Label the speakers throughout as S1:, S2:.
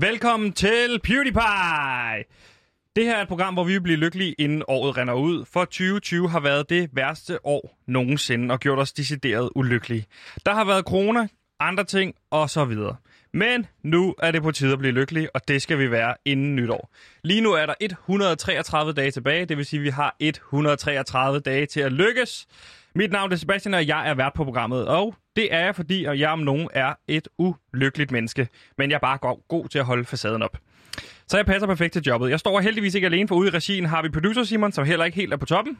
S1: Velkommen til PewDiePie! Det her er et program, hvor vi bliver lykkelige, inden året render ud, for 2020 har været det værste år nogensinde og gjort os decideret ulykkelige. Der har været corona, andre ting og så videre. Men nu er det på tide at blive lykkelig, og det skal vi være inden nytår. Lige nu er der 133 dage tilbage, det vil sige, at vi har 133 dage til at lykkes. Mit navn er Sebastian, og jeg er vært på programmet, og det er jeg, fordi jeg om nogen er et ulykkeligt menneske. Men jeg er bare go- god til at holde facaden op. Så jeg passer perfekt til jobbet. Jeg står heldigvis ikke alene, for ude i regien har vi producer Simon, som heller ikke helt er på toppen.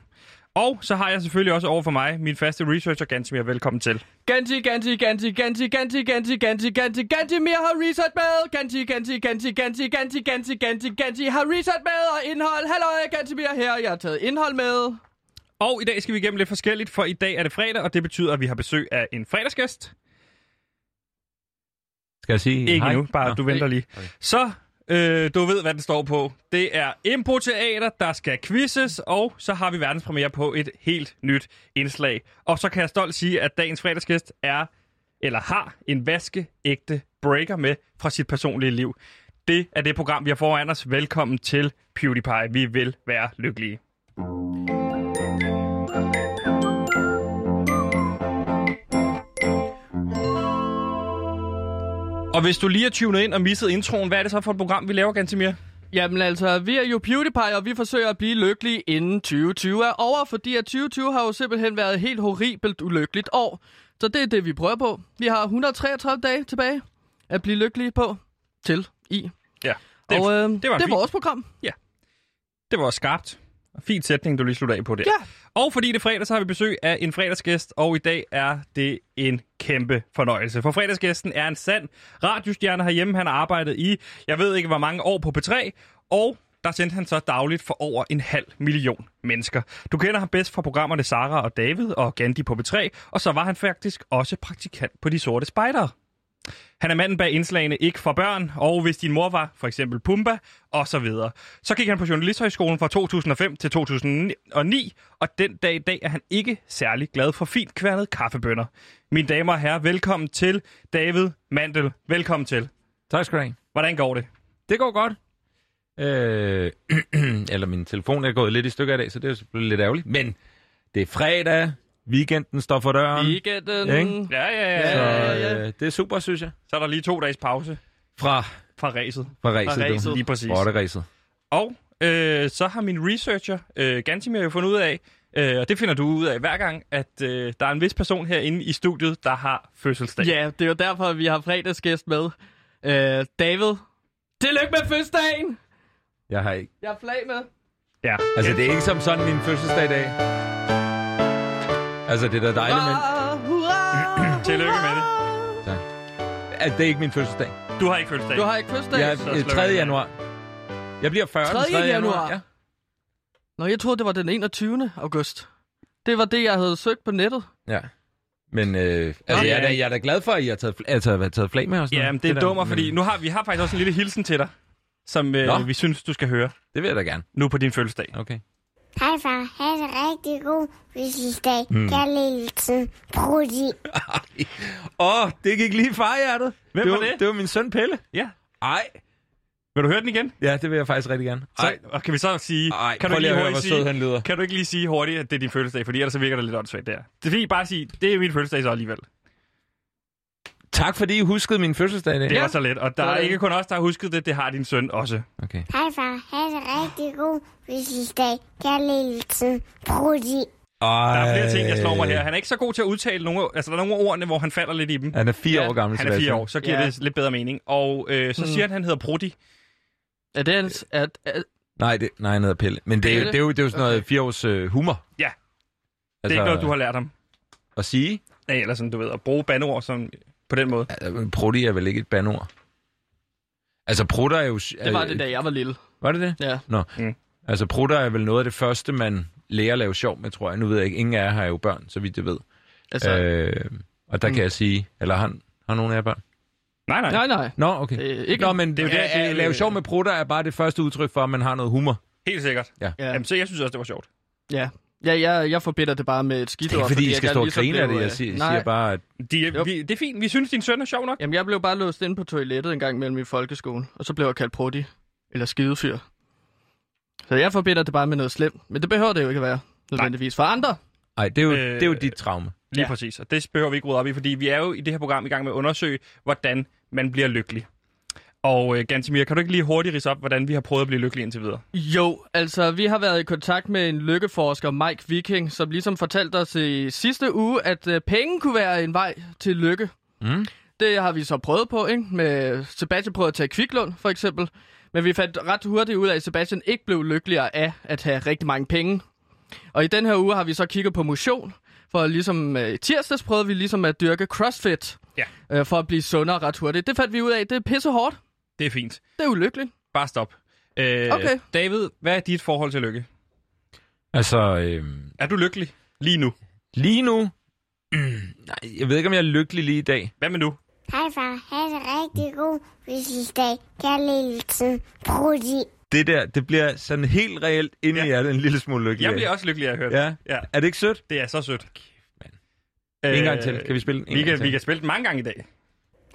S1: Og så har jeg selvfølgelig også over for mig min faste researcher, Gansimir. Velkommen til.
S2: Ganti, Ganti, Ganti, Ganti, Ganti, Ganti, Ganti, Ganti, Ganti, Mir har reset med. Ganti, Ganti, Ganti, Ganti, Ganti, Ganti, Ganti, Ganti har reset med. Og indhold, halløj, Ganti Mir her. Jeg har taget indhold med.
S1: Og i dag skal vi igennem lidt forskelligt, for i dag er det fredag, og det betyder, at vi har besøg af en fredagsgæst.
S3: Skal jeg sige
S1: Ikke
S3: hej?
S1: nu, bare Nå, du venter lige. Okay. Så øh, du ved, hvad den står på. Det er Impoteater, der skal quizzes, og så har vi verdenspremiere på et helt nyt indslag. Og så kan jeg stolt sige, at dagens fredagsgæst er, eller har, en vaskeægte breaker med fra sit personlige liv. Det er det program, vi har foran os. Velkommen til PewDiePie. Vi vil være lykkelige. Og hvis du lige er tunet ind og misset introen, hvad er det så for et program, vi laver, Gantemir?
S2: Jamen altså, vi er jo PewDiePie, og vi forsøger at blive lykkelige inden 2020 er over, fordi at 2020 har jo simpelthen været et helt horribelt ulykkeligt år. Så det er det, vi prøver på. Vi har 133 dage tilbage at blive lykkelige på til i.
S1: Ja, øh- det,
S2: Og øh, det,
S1: det var
S2: det er
S1: fint.
S2: vores program.
S1: det var skarpt. Fin sætning, du lige slutter af på det.
S2: Ja.
S1: Og fordi det er fredag, så har vi besøg af en fredagsgæst, og i dag er det en kæmpe fornøjelse. For fredagsgæsten er en sand radiostjerne herhjemme. Han har arbejdet i, jeg ved ikke hvor mange år på P3, og der sendte han så dagligt for over en halv million mennesker. Du kender ham bedst fra programmerne Sara og David og Gandhi på P3, og så var han faktisk også praktikant på De Sorte Spejdere. Han er manden bag indslagene Ikke for børn, og hvis din mor var for eksempel Pumba, og så videre. Så gik han på Journalisthøjskolen fra 2005 til 2009, og den dag i dag er han ikke særlig glad for fint kværnet kaffebønder. Mine damer og herrer, velkommen til David Mandel. Velkommen til.
S3: Tak skal du have.
S1: Hvordan går det?
S3: Det går godt. Øh, eller min telefon er gået lidt i stykker i dag, så det er jo selvfølgelig lidt ærgerligt. Men det er fredag, weekenden står for døren,
S2: Weekenden.
S1: Ja, ja,
S2: ja.
S1: ja.
S3: så
S1: Så,
S3: øh, det er super, synes jeg.
S1: så er der lige to dages pause
S3: Fra,
S1: fra ræset.
S3: fra ræset,
S2: ræset.
S3: du.
S1: Lige præcis.
S3: Rotteræset.
S1: Og øh, så har min researcher, øh, Gantimir, jo fundet ud af, øh, og det finder du ud af hver gang, at øh, der er en vis person herinde i studiet, der har fødselsdag.
S2: Ja, det er jo derfor, at vi har fredagsgæst med. Øh, David, tillykke med fødselsdagen!
S3: Jeg har ikke.
S2: Jeg er flag med.
S1: Ja.
S3: Altså, det er ikke som sådan min fødselsdag i dag. Altså, det er da dejligt, men...
S2: Hurra, hurra,
S1: Tillykke med det.
S3: Tak. Altså, det er ikke min fødselsdag.
S1: Du har ikke fødselsdag.
S2: Du har ikke fødselsdag?
S3: Jeg
S2: Ja.
S1: så slår
S3: er øh,
S1: jeg
S3: 3.
S1: den.
S3: januar. Jeg bliver 40 den
S2: 3.
S3: 3. januar.
S2: januar.
S3: Ja.
S2: Nå, jeg troede, det var den 21. august. Det var det, jeg havde søgt på nettet.
S3: Ja. Men øh, altså,
S1: Nå.
S3: jeg, er da, jeg er da glad for, at I har taget, fl- altså, har taget flag med os.
S1: Ja, men det er dummer, fordi nu har vi har faktisk også en lille hilsen til dig, som
S3: Nå.
S1: øh, vi synes, du skal høre
S3: Mm, Det vil jeg da gerne.
S1: nu på din fødselsdag.
S3: Okay.
S4: Hej far, have en rigtig god fødselsdag. Mm. Kærligheden, Brudi.
S3: Åh, oh, det gik lige i farhjertet.
S1: Hvem
S3: det
S1: var
S3: var
S1: det?
S3: Det var min søn Pelle.
S1: Ja.
S3: Ej.
S1: Vil du høre den igen?
S3: Ja, det vil jeg faktisk rigtig gerne.
S1: Så, og kan vi så sige...
S3: Ej,
S1: kan
S3: prøv lige at høre,
S1: hurtigt
S3: hvor sød han lyder.
S1: Kan du ikke lige sige hurtigt, at det er din fødselsdag, fordi ellers så virker det lidt åndssvagt der. Det er fordi, bare sige, det er min fødselsdag så alligevel.
S3: Tak fordi I huskede min fødselsdag i dag.
S1: Det var så let, og der er
S2: Sådan.
S1: ikke kun os, der har husket det, det har din søn også.
S3: Okay.
S4: Hej far, have en rigtig god fødselsdag. Kærligheden, Brudi.
S3: Ej.
S1: Der er flere ting, jeg slår mig her. Han er ikke så god til at udtale nogle... Altså, der er nogle af ordene, hvor han falder lidt i dem.
S3: Han er fire
S2: Ja,
S3: år gammel.
S1: Han er fire
S3: Sebastian.
S1: år, så giver
S2: Ja.
S1: det lidt bedre mening. Og øh, så siger han, at han hedder Prudi.
S2: Er det hans...
S3: Øh,
S2: Er, er,
S3: Nej, det, nej, han hedder Pelle. Men det, er jo-
S2: Pelle?
S3: det, er, jo, det er jo sådan noget fire års øh, humor.
S1: Ja.
S3: Altså,
S1: Det er ikke noget, du har lært ham.
S3: At sige.
S1: Nej, eller sådan, du ved, at bruge bandeord som, på den måde.
S3: Altså, Prutti er vel ikke et bandord. Altså, prutter er jo...
S2: det
S3: øh,
S2: var det, da jeg var lille.
S3: Var det det?
S2: Ja.
S3: Nå,
S1: Mm.
S3: mm. altså prutter er vel noget af det første, man lærer at lave sjov med, tror jeg. Nu ved jeg ikke, ingen af jer har jo børn, så vidt jeg ved.
S2: Altså,
S3: Så.
S2: øh,
S3: Øh, og der mm.
S2: Mm.
S3: kan jeg sige, eller han har nogen af jer børn?
S1: Nej, nej.
S2: nej, nej.
S3: Nå, okay.
S2: Øh, ikke-
S3: Nå, men det er jo
S1: Ja,
S3: det, at,
S1: det-
S3: at lave sjov med prutter er bare det første udtryk for, at man har noget humor.
S1: Helt sikkert.
S2: Ja.
S1: Jamen, så jeg synes også, det var sjovt.
S2: ja. Ja, jeg, jeg forbinder det bare med et skidt
S3: Det er ikke,
S2: ord,
S3: fordi I skal
S2: jeg
S3: stå og
S2: ligesom
S3: grine af
S2: blev,
S3: det. Jeg
S2: øh,
S3: siger,
S2: nej.
S3: siger bare, at
S1: De, vi, det er fint. Vi synes, din søn er sjov nok.
S2: Jamen, jeg blev bare låst inde på toilettet en gang mellem i folkeskolen, og så blev jeg kaldt prutti, eller skidefyr. Så jeg forbinder det bare med noget slemt, men det behøver det jo ikke at være, nødvendigvis for andre.
S3: ej, det er jo,
S1: Øh,
S3: det er jo dit traume.
S1: Lige ja.
S2: Ja.
S1: præcis, og det behøver vi ikke rydde op i, fordi vi er jo i det her program i gang med at undersøge, hvordan man bliver lykkelig. Og øh, Gantemir, kan du ikke lige hurtigt rise op, hvordan vi har prøvet at blive lykkelig indtil videre?
S2: Jo, altså vi har været i kontakt med en lykkeforsker, Mike Viking, som ligesom fortalte os i sidste uge, at øh, penge kunne være en vej til lykke.
S3: Mm.
S2: Det har vi så prøvet på, ikke? Med Sebastian prøvede at tage kviklån, for eksempel. Men vi fandt ret hurtigt ud af, at Sebastian ikke blev lykkeligere af at have rigtig mange penge. Og i den her uge har vi så kigget på motion. For ligesom øh, i tirsdags prøvede vi ligesom at dyrke CrossFit.
S1: Ja.
S2: Øh, for at blive sundere ret hurtigt. Det fandt vi ud af, det er pissehårdt.
S1: Det er fint.
S2: Det er ulykkeligt.
S1: Bare stop. Øh,
S2: Okay.
S1: David, hvad er dit forhold til lykke?
S3: Altså, øh,
S1: Er du lykkelig lige nu?
S3: lige nu... Nej, jeg ved ikke, om jeg er lykkelig lige i dag.
S1: Hvad med nu?
S4: Hej far, ha' en rigtig god fødselsdag. Kærlighedsen, Brudi.
S3: Det der, det bliver sådan helt reelt inde
S1: Ja.
S3: i hjertet en lille smule lykkelig.
S1: Jeg
S3: af.
S1: bliver også lykkelig af at høre det.
S3: Ja.
S1: ja.
S3: Er det ikke sødt?
S1: Det er så sødt.
S3: mand.
S1: Øh,
S3: en gang til. Kan vi spille den? en
S1: vi
S3: gang
S1: kan,
S3: til?
S1: vi kan spille den mange gange i dag.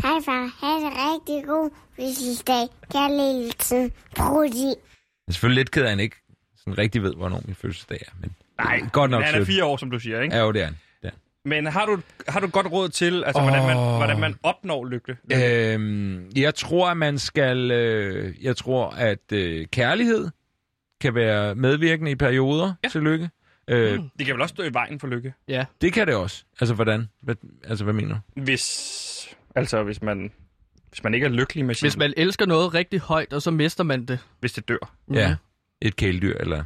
S4: Hej far, ha' en rigtig god fødselsdag. Kærlighedsen, Brudi.
S3: Jeg er selvfølgelig lidt ked af, at han ikke sådan rigtig ved, hvornår min fødselsdag er. Men
S1: Nej,
S3: det er godt nok
S1: Han er
S3: sødt.
S1: fire år, som du siger, ikke?
S3: Ja, jo, det er han. Det er han.
S1: Men har du, har du et godt råd til, altså, oh. hvordan, man,
S3: Åh.
S1: hvordan man opnår lykke?
S3: Øhm, jeg tror, at man skal... Øh, jeg tror, at øh, kærlighed kan være medvirkende i perioder ja. til lykke. Øh, mm.
S1: Det kan vel også stå i vejen for lykke?
S2: Ja.
S3: Det kan det også. Altså, hvordan? Hvad, altså, hvad mener du?
S1: Hvis, altså, hvis man, hvis man ikke er lykkelig med sin,
S2: Hvis man elsker noget rigtig højt, og så mister man det.
S1: hvis det dør.
S3: Mm. Ja, et kæledyr, eller...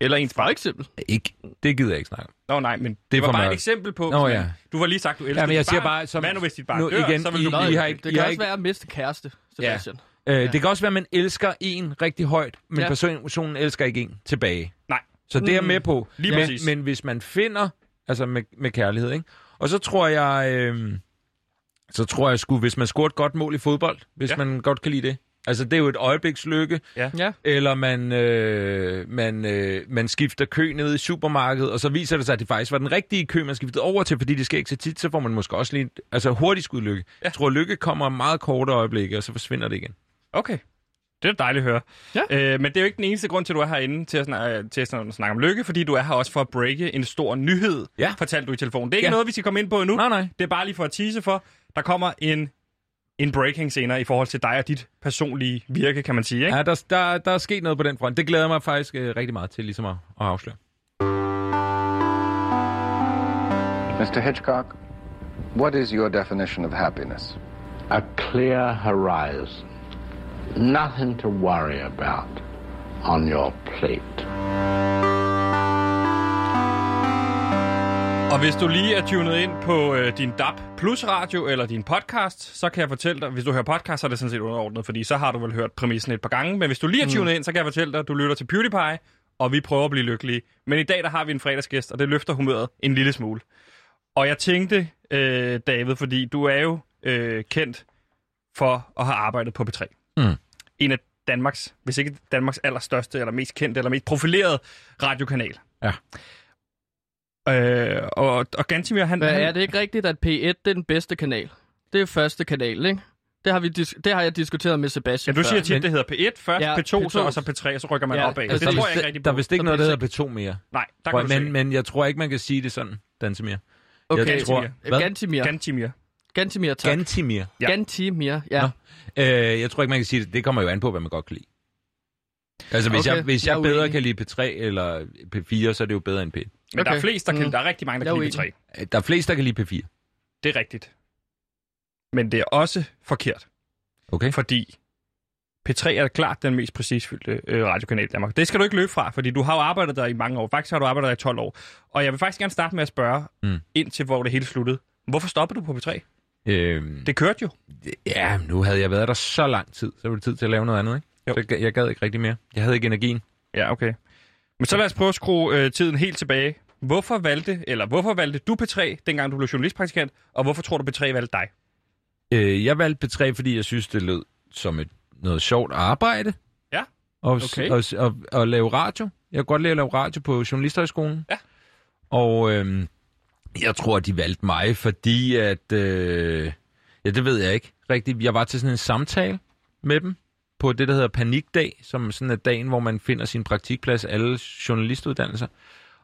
S1: Eller ens
S2: For
S1: barn.
S2: eksempel.
S3: Ikke. Det gider jeg ikke snakke om.
S1: Nå nej, men det,
S3: Det er
S1: var
S3: for
S1: bare et
S3: mørkt.
S1: eksempel på.
S3: Nå,
S1: sådan,
S3: ja.
S1: Du har lige sagt, du elsker
S3: Ja, men
S1: dit
S3: jeg siger
S1: barn.
S3: bare, som-
S1: Hvad nu, hvis dit barn
S3: nu
S1: dør,
S3: igen,
S1: så vil
S3: I-
S1: du
S2: Nå,
S1: blive...
S3: I har
S2: det-
S3: ikke-
S2: det
S3: I
S2: kan
S3: har
S2: også
S3: ikke-
S2: være at miste kæreste, Sebastian.
S3: Øh, Det kan også være, at man elsker en rigtig højt, men
S2: Ja.
S3: ja. personen elsker ikke en tilbage.
S1: Nej.
S3: Så det er jeg
S2: Mm.
S3: med på.
S1: Lige
S3: men,
S1: præcis.
S3: men hvis man finder, altså med, med kærlighed, ikke? Og så tror jeg, øh, så tror jeg sgu, hvis man scorer et godt mål i fodbold, hvis
S1: Ja.
S3: ja. man godt kan lide det. Altså det er jo et øjeblikslykke,
S2: Ja.
S3: eller man, øh, man, øh, man skifter kø ned i supermarkedet, og så viser det sig, at det faktisk var den rigtige kø, man skiftede over til, fordi det sker ikke så tit, så får man måske også lige, et- altså hurtigt skud lykke. Ja. Jeg tror, lykke kommer meget korte øjeblikke, og så forsvinder det igen.
S1: Okay. Det er dejligt at høre.
S2: Ja.
S1: Øh, men det er jo ikke den eneste grund til, at du er herinde til at, snakke, til at snak- snakke om lykke, fordi du er her også for at breake en stor nyhed,
S3: Ja.
S1: fortalte du i telefonen. Det er ikke ja.
S3: Ja.
S1: noget, vi skal komme ind på endnu.
S3: Nej, nej.
S1: Det er bare lige for at tease for, der kommer en, en breaking senere i forhold til dig og dit personlige virke, kan man sige. Ikke?
S3: Ja, der, der, der er sket noget på den front. Det glæder jeg mig faktisk øh, rigtig meget til ligesom at, at afsløre.
S5: Mr. Hitchcock, what is your definition of happiness?
S6: a clear horizon, nothing to worry about on your plate.
S1: Og hvis du lige er tunet ind på øh, din DAB Plus Radio eller din podcast, så kan jeg fortælle dig, hvis du hører podcast, så er det sådan set underordnet, fordi så har du vel hørt præmissen et par gange. Men hvis du lige er tunet ind, så kan jeg fortælle dig, at du lytter til PewDiePie, og vi prøver at blive lykkelige. Men i dag der har vi en fredagsgæst, og det løfter humøret en lille smule. Og jeg tænkte, øh, David, fordi du er jo øh, kendt for at have arbejdet på P3.
S3: Mm.
S1: En af Danmarks, hvis ikke Danmarks allerstørste, eller mest kendte, eller mest profilerede radiokanal.
S3: Ja.
S1: Øh, og, og Gantimir, han...
S2: Hvad
S1: han,
S2: er det ikke rigtigt, at P1 det er den bedste kanal? Det er første kanal, ikke? Det har, vi dis- det har jeg diskuteret med
S1: Ja,
S2: Sebastian
S1: du siger
S2: før.
S1: tit,
S3: men-
S1: det hedder P1 først, ja,
S2: Ja,
S1: P2, så,
S2: P2.
S1: og så P3, og så rykker man
S2: Ja,
S1: opad.
S2: altså,
S1: det
S3: der,
S2: der
S3: er
S1: tror
S3: vist-
S1: jeg ikke rigtig
S3: der
S1: på.
S3: er vist ikke
S2: Så
S3: noget, der
S2: bliver
S3: hedder P2 mere.
S1: Nej, der
S3: Tror
S1: kan
S3: jeg,
S1: du se.
S3: men, men jeg tror ikke, man kan sige det sådan, Dansemir.
S2: Okay.
S3: Jeg tror,
S2: Hvad?
S3: hvad?
S2: Gantimir.
S1: Gantimir.
S2: Gantimir, tak.
S3: Gantimir.
S1: ja.
S2: Gantimir, ja.
S3: Nå, Øh, jeg tror ikke, man kan sige det. Det kommer jo an på, hvad man godt kan lide. Altså, hvis
S2: Okay,
S3: jeg, hvis
S2: jeg
S3: jeg,
S2: er
S3: bedre
S2: uenig.
S3: kan lide P3 eller P4, så er det jo bedre end P1.
S1: Men der er
S2: Okay.
S1: flest, der kan,
S2: Mm.
S1: der er rigtig mange, der
S2: Jeg
S1: kan
S2: er
S1: lide P3.
S3: Øh, Der er flest, der kan lide P4.
S1: Det er rigtigt. Men det er også forkert,
S3: Okay?
S1: fordi P3 er klart den mest præcisfyldte øh, radiokanal i Danmark. Det skal du ikke løbe fra, fordi du har jo arbejdet der i mange år. Faktisk har du arbejdet der i 12 år. Og jeg vil faktisk gerne starte med at spørge, mm.
S3: Mm.
S1: indtil hvor det hele sluttede. Hvorfor stoppede du på P3?
S3: Øhm,
S1: Det kørte jo.
S3: ja, nu havde jeg været der så lang tid, så var det tid til at lave noget andet, ikke?
S1: Jo.
S3: Så jeg, jeg gad ikke rigtig mere. Jeg havde ikke energien.
S1: Ja, okay. Men så lad os prøve at skrue øh, tiden helt tilbage. Hvorfor valgte, eller hvorfor valgte du P3, dengang du blev journalistpraktikant, og hvorfor tror du, P3 valgte dig?
S3: Øh, jeg valgte P3, fordi jeg synes, det lød som et, noget sjovt arbejde.
S1: Ja,
S3: Og,
S1: okay.
S3: okay. og, og, og lave radio. Jeg kunne godt lide at lave radio på Journalisthøjskolen. Ja. Og øhm, jeg tror, de valgte mig, fordi at... Øh, ja, det ved jeg ikke rigtigt. Jeg var til sådan en samtale med dem på det, der hedder Panikdag, som sådan er dagen, hvor man finder sin praktikplads, alle journalistuddannelser.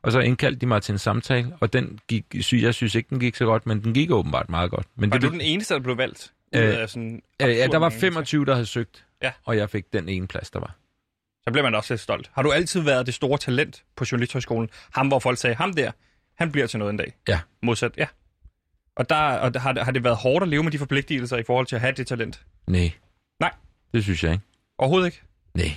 S3: Og så indkaldte de mig til en samtale, og den gik, sy- jeg synes ikke, den gik så godt, men den gik åbenbart meget godt. Men
S1: Var
S3: det,
S1: du den eneste, der blev valgt? Ud
S3: Øh,
S1: af sådan
S3: øh, ja,
S1: absurd
S3: der var
S1: mange
S2: altså.
S1: mennesker?
S3: 25, der havde søgt,
S1: Ja.
S3: og jeg fik den ene plads, der var.
S1: Så bliver man da også lidt stolt. Har du altid været det store talent på Journalisthøjskolen? Ham, hvor folk sagde, ham der, han bliver til noget en dag.
S3: Ja.
S1: Modsat, ja. Og, der, og der, har, det- har det været hårdt at leve med de forpligtelser i forhold til at have det talent?
S3: Nej.
S1: Nej.
S3: Det synes jeg ikke.
S1: Overhovedet ikke.
S3: Nej.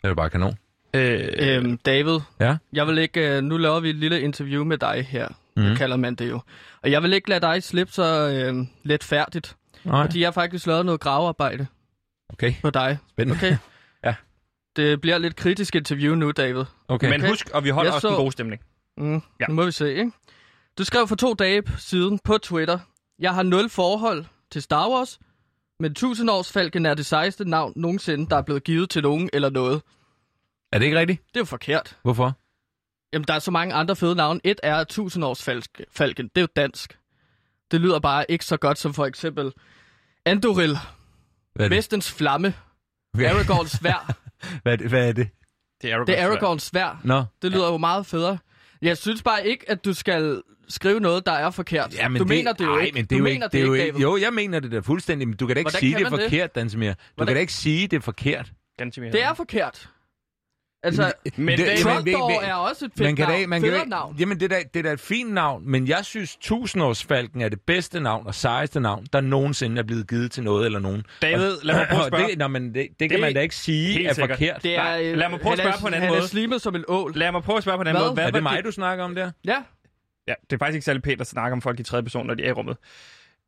S3: Det er jo bare kanon.
S1: Øh,
S2: Øhm, David,
S3: Ja?
S2: jeg vil ikke, øh, nu laver vi et lille interview med dig her,
S3: Mhm.
S2: mm. kalder man det jo. Og jeg vil ikke lade dig slippe så øh, let færdigt,
S3: Nej.
S2: fordi jeg har faktisk lavet noget gravearbejde
S3: Okay.
S2: på dig.
S3: Spændende.
S2: Okay?
S3: Ja.
S2: Det bliver et lidt kritisk interview nu, David.
S3: Okay.
S1: Men husk, og vi holder
S2: Øh, Jeg
S1: også
S2: så-
S1: den gode stemning.
S2: Mm,
S1: Ja.
S2: ja. Nu må vi se, ikke? Du skrev for to dage siden på Twitter, jeg har nul forhold til Star Wars, men tusindårsfalken er det sejeste navn nogensinde, der er blevet givet til nogen eller noget.
S3: Er det ikke rigtigt?
S2: Det er jo forkert.
S3: Hvorfor?
S2: Jamen, der er så mange andre fede navne. Et er Tusindårsfalken. Det er jo dansk. Det lyder bare ikke så godt som for eksempel Andoril,
S3: Hvad er det?
S2: Vestens Flamme,
S3: Okay.
S2: Aragorns Svær.
S3: Hvad, er det- hvad er det?
S1: Det er Aragorn.
S2: Det er Aragorns Svær.
S3: Nå.
S2: Det lyder jo meget federe. Jeg synes bare ikke, at du skal skrive noget, der er forkert.
S3: Ja, men
S2: du
S3: det,
S2: mener det jo
S3: ej,
S2: ikke.
S3: Men det
S2: du
S3: er jo
S2: mener
S3: ikke,
S2: det, det
S3: er jo
S2: ikke,
S3: ikke.
S2: David.
S3: Jo, jeg mener det da fuldstændig, men du kan da ikke
S2: Hvordan
S3: sige,
S2: kan
S3: det er
S2: man det?
S3: forkert, Dansemir. Du
S2: Hvordan-
S3: kan da ikke sige, det er forkert.
S1: Gantimir.
S2: Det er forkert. Altså,
S1: Men det,
S3: Det-
S1: det,
S3: men- men-
S2: Troldor
S3: men-
S2: er også et fedt
S3: Man kan da,
S2: navn.
S3: man kan da,
S2: Federe navn.
S3: Jamen, det er, da, det er da et fint navn, men jeg synes, Tusindårsfalken er det bedste navn og sejeste navn, der nogensinde er blevet givet til noget eller nogen.
S1: David, lad mig prøve at
S3: Og
S1: spørge.
S3: det, nå, men det, det, det kan man da ikke sige
S1: helt
S3: er
S1: sikkert.
S3: forkert.
S2: Det er,
S1: Nej,
S2: øh,
S1: lad mig prøve at
S2: han
S1: spørge
S2: er-
S1: på en anden
S2: han
S1: måde.
S2: er slimet som en ål.
S1: Lad mig prøve at spørge på en anden
S2: Hvad?
S1: måde. Hvad
S3: er
S1: var
S3: det mig, du snakker om der?
S2: Ja,
S1: Ja, det er faktisk ikke særlig pænt at snakke om folk i tredje person, når de er i rummet.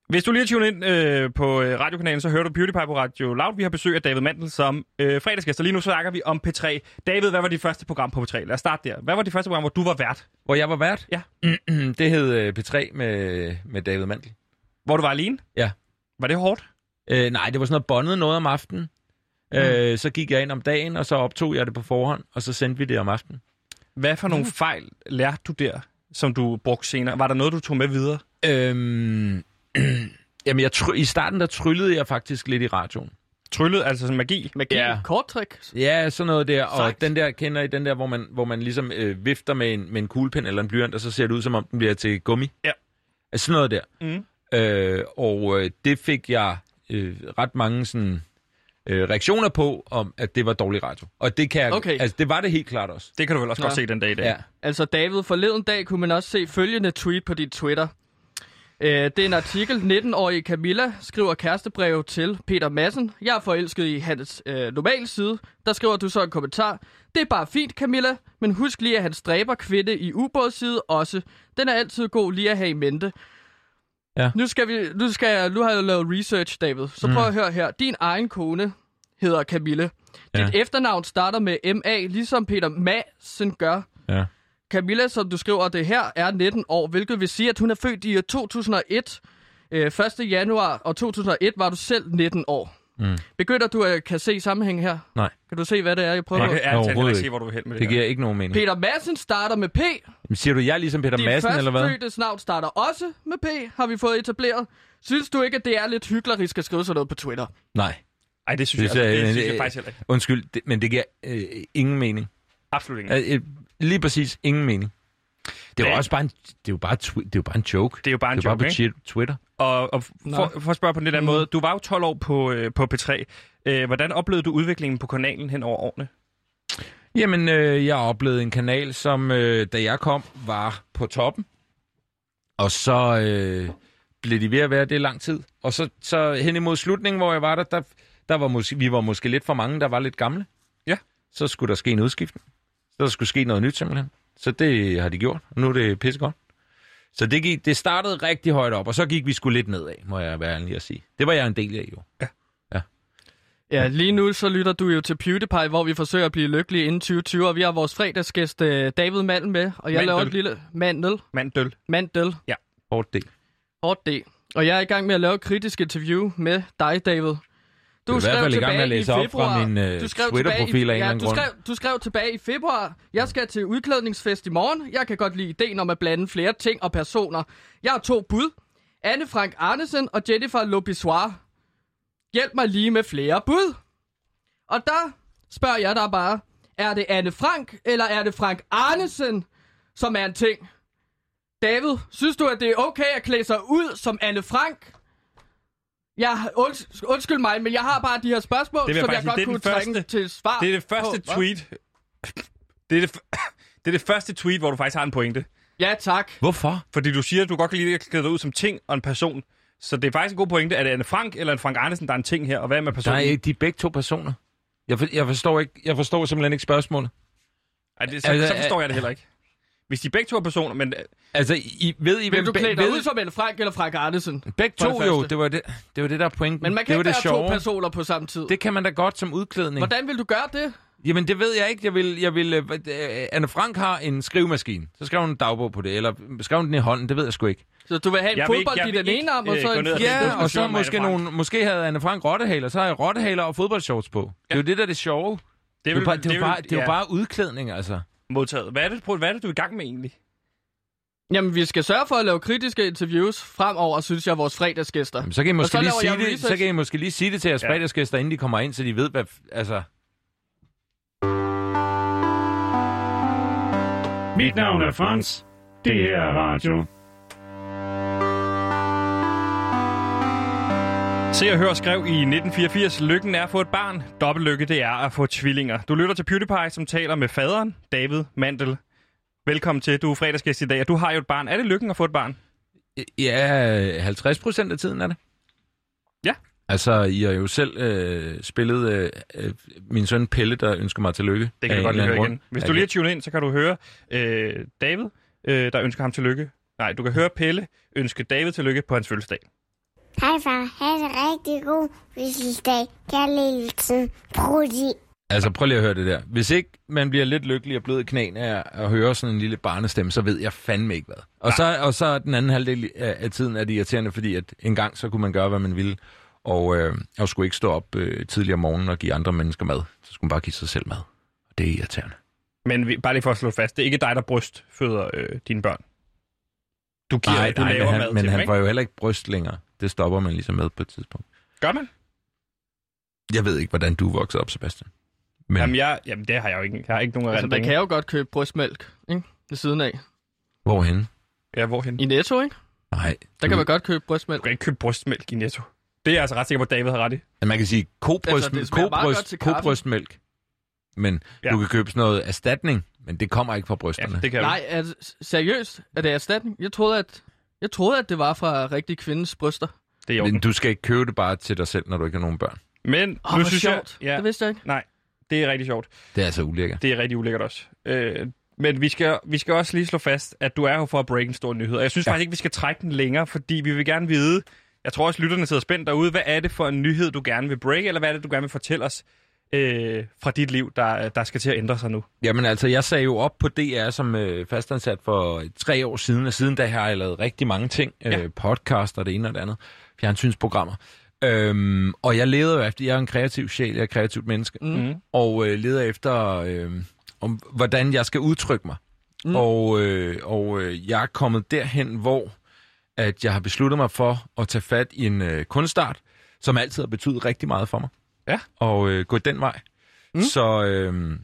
S1: Hvis du lige tuner ind øh, på øh, radiokanalen, så hører du PewDiePie på Radio Loud. Vi har besøg af David Mandel som øh, fredagsgæst, og lige nu snakker vi om P3. David, hvad var dit første program på P3? Lad os starte der. Hvad var dit første program, hvor du var vært?
S3: Hvor jeg var vært?
S1: Ja.
S3: det hed øh, P3 med, med David Mandel.
S1: Hvor du var alene?
S3: Ja.
S1: Var det hårdt?
S3: Øh, nej, det var sådan noget bondet noget om aftenen. Mm. Øh, så gik jeg ind om dagen, og så optog jeg det på forhånd, og så sendte vi det om aftenen.
S1: Hvad for nogle fejl lærte du der, som du brugte senere? Var der noget, du tog med videre?
S3: Øhm, jamen, jeg try- i starten der tryllede jeg faktisk lidt i radioen.
S1: Tryllet, altså sådan magi?
S2: med
S3: Ja.
S2: yeah. korttrik.
S3: Ja, sådan noget der, og
S2: Sejt.
S3: den der, kender I den der, hvor man, hvor man ligesom øh, vifter med en, med en kuglepen eller en blyant, og så ser det ud, som om den bliver til gummi.
S1: Ja.
S3: Altså sådan noget der.
S1: Mm.
S3: Øh, og øh, det fik jeg øh, ret mange sådan, øh, reaktioner på, om at det var dårlig radio. Og det kan jeg,
S2: Okay.
S3: altså det var det helt klart også.
S1: Det kan du vel også
S2: Ja.
S1: godt se den dag i dag.
S3: Ja.
S2: Altså David, forleden dag kunne man også se følgende tweet på dit Twitter. Øh, det er en artikel. 19-årige Camilla skriver kærestebrev til Peter Madsen. Jeg er forelsket i hans øh, normale side. Der skriver du så en kommentar. Det er bare fint, Camilla, men husk lige, at han stræber kvinde i ubådsside også. Den er altid god lige at have i mente.
S3: Ja. Mm.
S2: Nu, skal vi, nu, skal jeg, nu har jeg lavet research, David. Så prøv at høre her. Din egen kone hedder Camille. Dit
S3: Ja.
S2: efternavn starter med MA, ligesom Peter Madsen gør.
S3: Ja.
S2: Camilla, som du skriver det her, er 19 år, hvilket vil sige, at hun er født i øh, 2001. Øh, 1. januar og 2001 var du selv 19 år.
S3: Mm.
S2: Begynder du at kan se sammenhæng her?
S3: Nej.
S2: Kan du se, hvad det er, jeg prøver?
S1: Jeg
S2: på?
S1: kan
S3: Nej,
S1: ærligt talt heller
S3: overhovedet
S1: ikke se,
S3: ikke.
S1: hvor du er hen med det,
S3: Det
S1: det her.
S3: giver ikke nogen mening.
S2: Peter Madsen starter med P.
S3: Men Siger du, jeg er ligesom Peter
S2: Din
S3: Madsen, eller hvad?
S2: førstefødtes navn starter også med P, har vi fået etableret. Synes du ikke, at det er lidt hyklerisk at skrive sådan noget på Twitter?
S3: Nej.
S1: Ej, det synes,
S3: Det
S1: jeg,
S3: ser-
S1: altså, det
S3: men
S1: synes
S3: det-
S1: jeg faktisk heller ikke.
S3: Undskyld, det, men det giver øh, ingen mening.
S1: Absolut ikke.
S3: Øh, øh, lige præcis ingen mening. Det var
S1: Ja.
S3: også bare en, det er jo bare, twi- det er jo bare en joke.
S1: Det er jo bare en
S3: det er
S1: joke,
S3: bare på chi- Twitter.
S1: Og, og for, for at spørge på en lidt anden
S2: Mm.
S1: måde, du var jo 12 år på, øh, på P3. Øh, hvordan oplevede du udviklingen på kanalen hen over årene?
S3: Jamen, øh, jeg oplevede en kanal, som øh, da jeg kom, var på toppen. Og så øh, blev de ved at være det i lang tid. Og så, så hen imod slutningen, hvor jeg var der, der, der var måske, vi var måske lidt for mange, der var lidt gamle.
S1: Ja.
S3: Så skulle der ske en udskiftning. Så der skulle ske noget nyt simpelthen. Så det har de gjort. Og nu er det pissegodt. Så det, gik, det startede rigtig højt op, og så gik vi sgu lidt nedad, må jeg være ærlig at sige. Det var jeg en del af jo.
S2: Ja, lige nu så lytter du jo til PewDiePie, hvor vi forsøger at blive lykkelige inden 2020, og vi har vores fredagsgæst øh, David Mandel med, og jeg
S1: Mandel.
S2: laver et lille mandel,
S1: Manddøl.
S2: mandel,
S3: Hårdt del.
S2: hårdt D. Og jeg er i gang med at lave et kritisk interview med dig, David.
S3: er i hvert
S2: skrev
S3: fald i gang med at
S2: tilbage
S3: læse op
S2: februar.
S3: fra min, øh,
S2: Du skrev
S3: Twitter-profil
S2: tilbage i-
S3: af en eller anden
S2: du
S3: grund.
S2: Skrev, du skrev tilbage i februar, jeg skal til udklædningsfest i morgen. Jeg kan godt lide ideen om at blande flere ting og personer. Jeg har to bud. Anne Frank Arnesen og Jennifer Lobisoir. Hjælp mig lige med flere bud. Og der spørger jeg dig bare, er det Anne Frank, eller er det Frank Arnesen, som er en ting? David, synes du, at det er okay at klæde sig ud som Anne Frank? Jeg, unds- undskyld mig, men jeg har bare de her spørgsmål,
S1: Det vil jeg
S2: som jeg
S1: faktisk
S2: godt
S1: sige,
S2: kunne
S1: det er den
S2: trænge
S1: første-
S2: til svar.
S1: Det er det første
S2: på. Hva?
S1: tweet. Det er det, f- det er det første tweet, hvor du faktisk har en pointe.
S2: Ja, tak.
S3: Hvorfor?
S1: Fordi du siger, at du godt kan lide at klæde dig ud som ting og en person. Så det er faktisk en god pointe. Er det Anne Frank eller en Frank Andersen, der er en ting her? Og hvad er med personen?
S3: Nej, ikke de er begge to personer. Jeg, for, jeg, forstår ikke, jeg forstår simpelthen ikke spørgsmålet.
S1: Er det, så,
S3: Altså,
S1: så forstår
S3: er-
S1: jeg det heller ikke. Hvis de begge to er personer, men øh,
S3: Altså, I, ved I,
S2: Vil du
S3: be-
S2: klæde dig
S3: ved-
S2: ud som Anne Frank eller Frank Arnesen?
S3: Begge
S2: for det
S3: to
S2: første?
S3: jo, det var det, det var det, der er pointen.
S2: Men man
S3: det
S2: kan
S3: var
S2: ikke
S3: det
S2: være
S3: sjove.
S2: to personer på samme tid.
S3: Det kan man da godt som udklædning.
S2: Hvordan vil du gøre det?
S3: Jamen, det ved jeg ikke. Jeg vil, jeg vil, øh, hvad- øh, Anne Frank har en skrivemaskine. Så skrev hun en dagbog på det, eller skrev hun den i hånden, det ved jeg sgu ikke.
S2: Så du vil have en
S1: Jeg vil ikke-
S2: fodbold
S1: jeg
S2: i
S1: vil
S2: den
S1: ikke,
S2: ene arm, og
S1: øh,
S2: så
S1: gå
S2: en...
S1: ned ad den
S2: Ja,
S1: diskussion
S3: Ja, og så
S1: med Anne
S3: måske,
S1: Frank.
S3: nogle, måske havde Anne Frank rottehaler, så har jeg rottehaler og fodboldshorts på. Det er jo det, der er det sjove. Det er jo
S1: vil-
S3: bare, det er jo
S1: vil-
S3: bare, det er jo
S1: ja,
S3: bare udklædning, altså.
S1: modtaget. Hvad er, det, prøv- hvad er det, du er i gang med egentlig?
S2: Jamen, vi skal sørge for at lave kritiske interviews fremover, synes jeg, vores fredagsgæster.
S3: Jamen, så kan I måske,
S2: så
S3: lige
S2: laver
S3: sige,
S2: jeg
S3: det,
S2: research.
S3: så kan I måske lige sige det til jeres
S1: Ja.
S3: ja. fredagsgæster, inden de kommer ind, så de ved, hvad... f- Altså,
S7: Mit navn er Frans. Det her er radio.
S1: Se og Hør skrev i 1984, lykken er at få et barn, dobbelt lykke det er at få tvillinger. Du lytter til PewDiePie, som taler med faderen, David Mandel. Velkommen til, du er fredagsgæst i dag, og du har jo et barn. Er det lykken at få et barn?
S3: ja, 50 øh, procent af tiden er det.
S1: Ja.
S3: Altså, I har jo selv øh, spillet øh, øh, min søn Pelle, der ønsker mig tillykke.
S1: Det kan
S3: af
S1: du godt
S3: en
S1: lige
S3: eller
S1: høre
S3: anden
S1: igen.
S3: grund.
S1: Hvis
S3: Ja,
S1: du lige er tunet ind, så kan du høre øh, David, øh, der ønsker ham tillykke. Nej, du kan høre Pelle ønske David tillykke på hans fødselsdag.
S4: Hej far, have det rigtig god fødselsdag. Kærlighedsen, Prudi.
S3: Altså, prøv lige at høre det der. Hvis ikke man bliver lidt lykkelig og blød i knæene af at høre sådan en lille barnestemme, så ved jeg fandme ikke hvad. Og så, og så er den anden halvdel af af tiden er det irriterende, fordi at en gang så kunne man gøre, hvad man ville, og, øh, og skulle ikke stå op øh, tidligere om morgenen og give andre mennesker mad. Så skulle man bare give sig selv mad. Og det er irriterende.
S1: Men vi, bare lige for at slå fast, det er ikke dig, der brystføder øh, dine børn. Du giver,
S3: Nej,
S1: du
S3: nej,
S1: laver
S3: men han,
S1: mad
S3: men
S1: til
S3: han
S1: dem,
S3: får
S1: ikke?
S3: jo heller ikke bryst længere. Det stopper man ligesom med på et tidspunkt.
S1: Gør man?
S3: Jeg ved ikke, hvordan du voksede op, Sebastian. Men
S1: Jamen, jeg, jamen, det har jeg jo ikke. Jeg har ikke nogen
S2: Altså, man
S1: erindring.
S2: kan jo godt købe brystmælk, ikke? Ved siden af.
S3: hvorhen?
S1: Ja, hvorhen?
S2: I Netto, ikke?
S3: Nej.
S2: Der kan man godt købe brystmælk.
S1: Du kan ikke købe brystmælk i Netto. Det er jeg altså ret sikker på, at David har ret i.
S3: Men Man kan sige kobryst,
S2: Altså, det
S3: altså,
S2: smager meget godt
S3: kobryst,
S2: til kaffe.
S3: kobrystmælk. Men
S1: Ja.
S3: ja. du kan købe sådan noget erstatning, men det kommer ikke fra
S1: Ja,
S3: brysterne. Ja,
S1: det kan
S2: Nej, altså, seriøst? Er det erstatning? Jeg troede, at... Jeg troede, at det var fra rigtig kvindes bryster.
S1: Det er jo.
S3: men du skal ikke købe det bare til dig selv, når du ikke har nogen børn.
S1: Men
S2: Åh,
S1: nu
S2: hvor
S1: synes
S2: sjovt.
S1: jeg... Ja,
S2: Det vidste jeg ikke.
S1: nej, det er rigtig sjovt.
S3: Det er altså ulækkert.
S1: Det er rigtig ulækkert også. Øh, men vi skal, vi skal også lige slå fast, at du er her for at break en stor nyhed. Og jeg synes ja. faktisk ikke, vi skal trække den længere, fordi vi vil gerne vide... Jeg tror også, lytterne sidder spændt derude. Hvad er det for en nyhed, du gerne vil break, eller hvad er det, du gerne vil fortælle os øh, fra dit liv, der, der skal til at ændre sig nu?
S3: Jamen altså, jeg sagde jo op på DR som øh, fastansat for tre år siden, og siden da har jeg lavet rigtig mange ting. Øh,
S1: Ja.
S3: Podcast og det ene og det andet. Fjernsynsprogrammer. Øhm, og jeg leder jo efter, jeg er en kreativ sjæl, jeg er et kreativt menneske, mm. og øh, leder efter, øh, om, hvordan jeg skal udtrykke mig. Mm. Og, øh, og øh, jeg er kommet derhen, hvor at jeg har besluttet mig for at tage fat i en øh, kunstart, som altid har betydet rigtig meget for mig.
S1: Ja.
S3: Og øh, gå den vej. Mm. Så øh,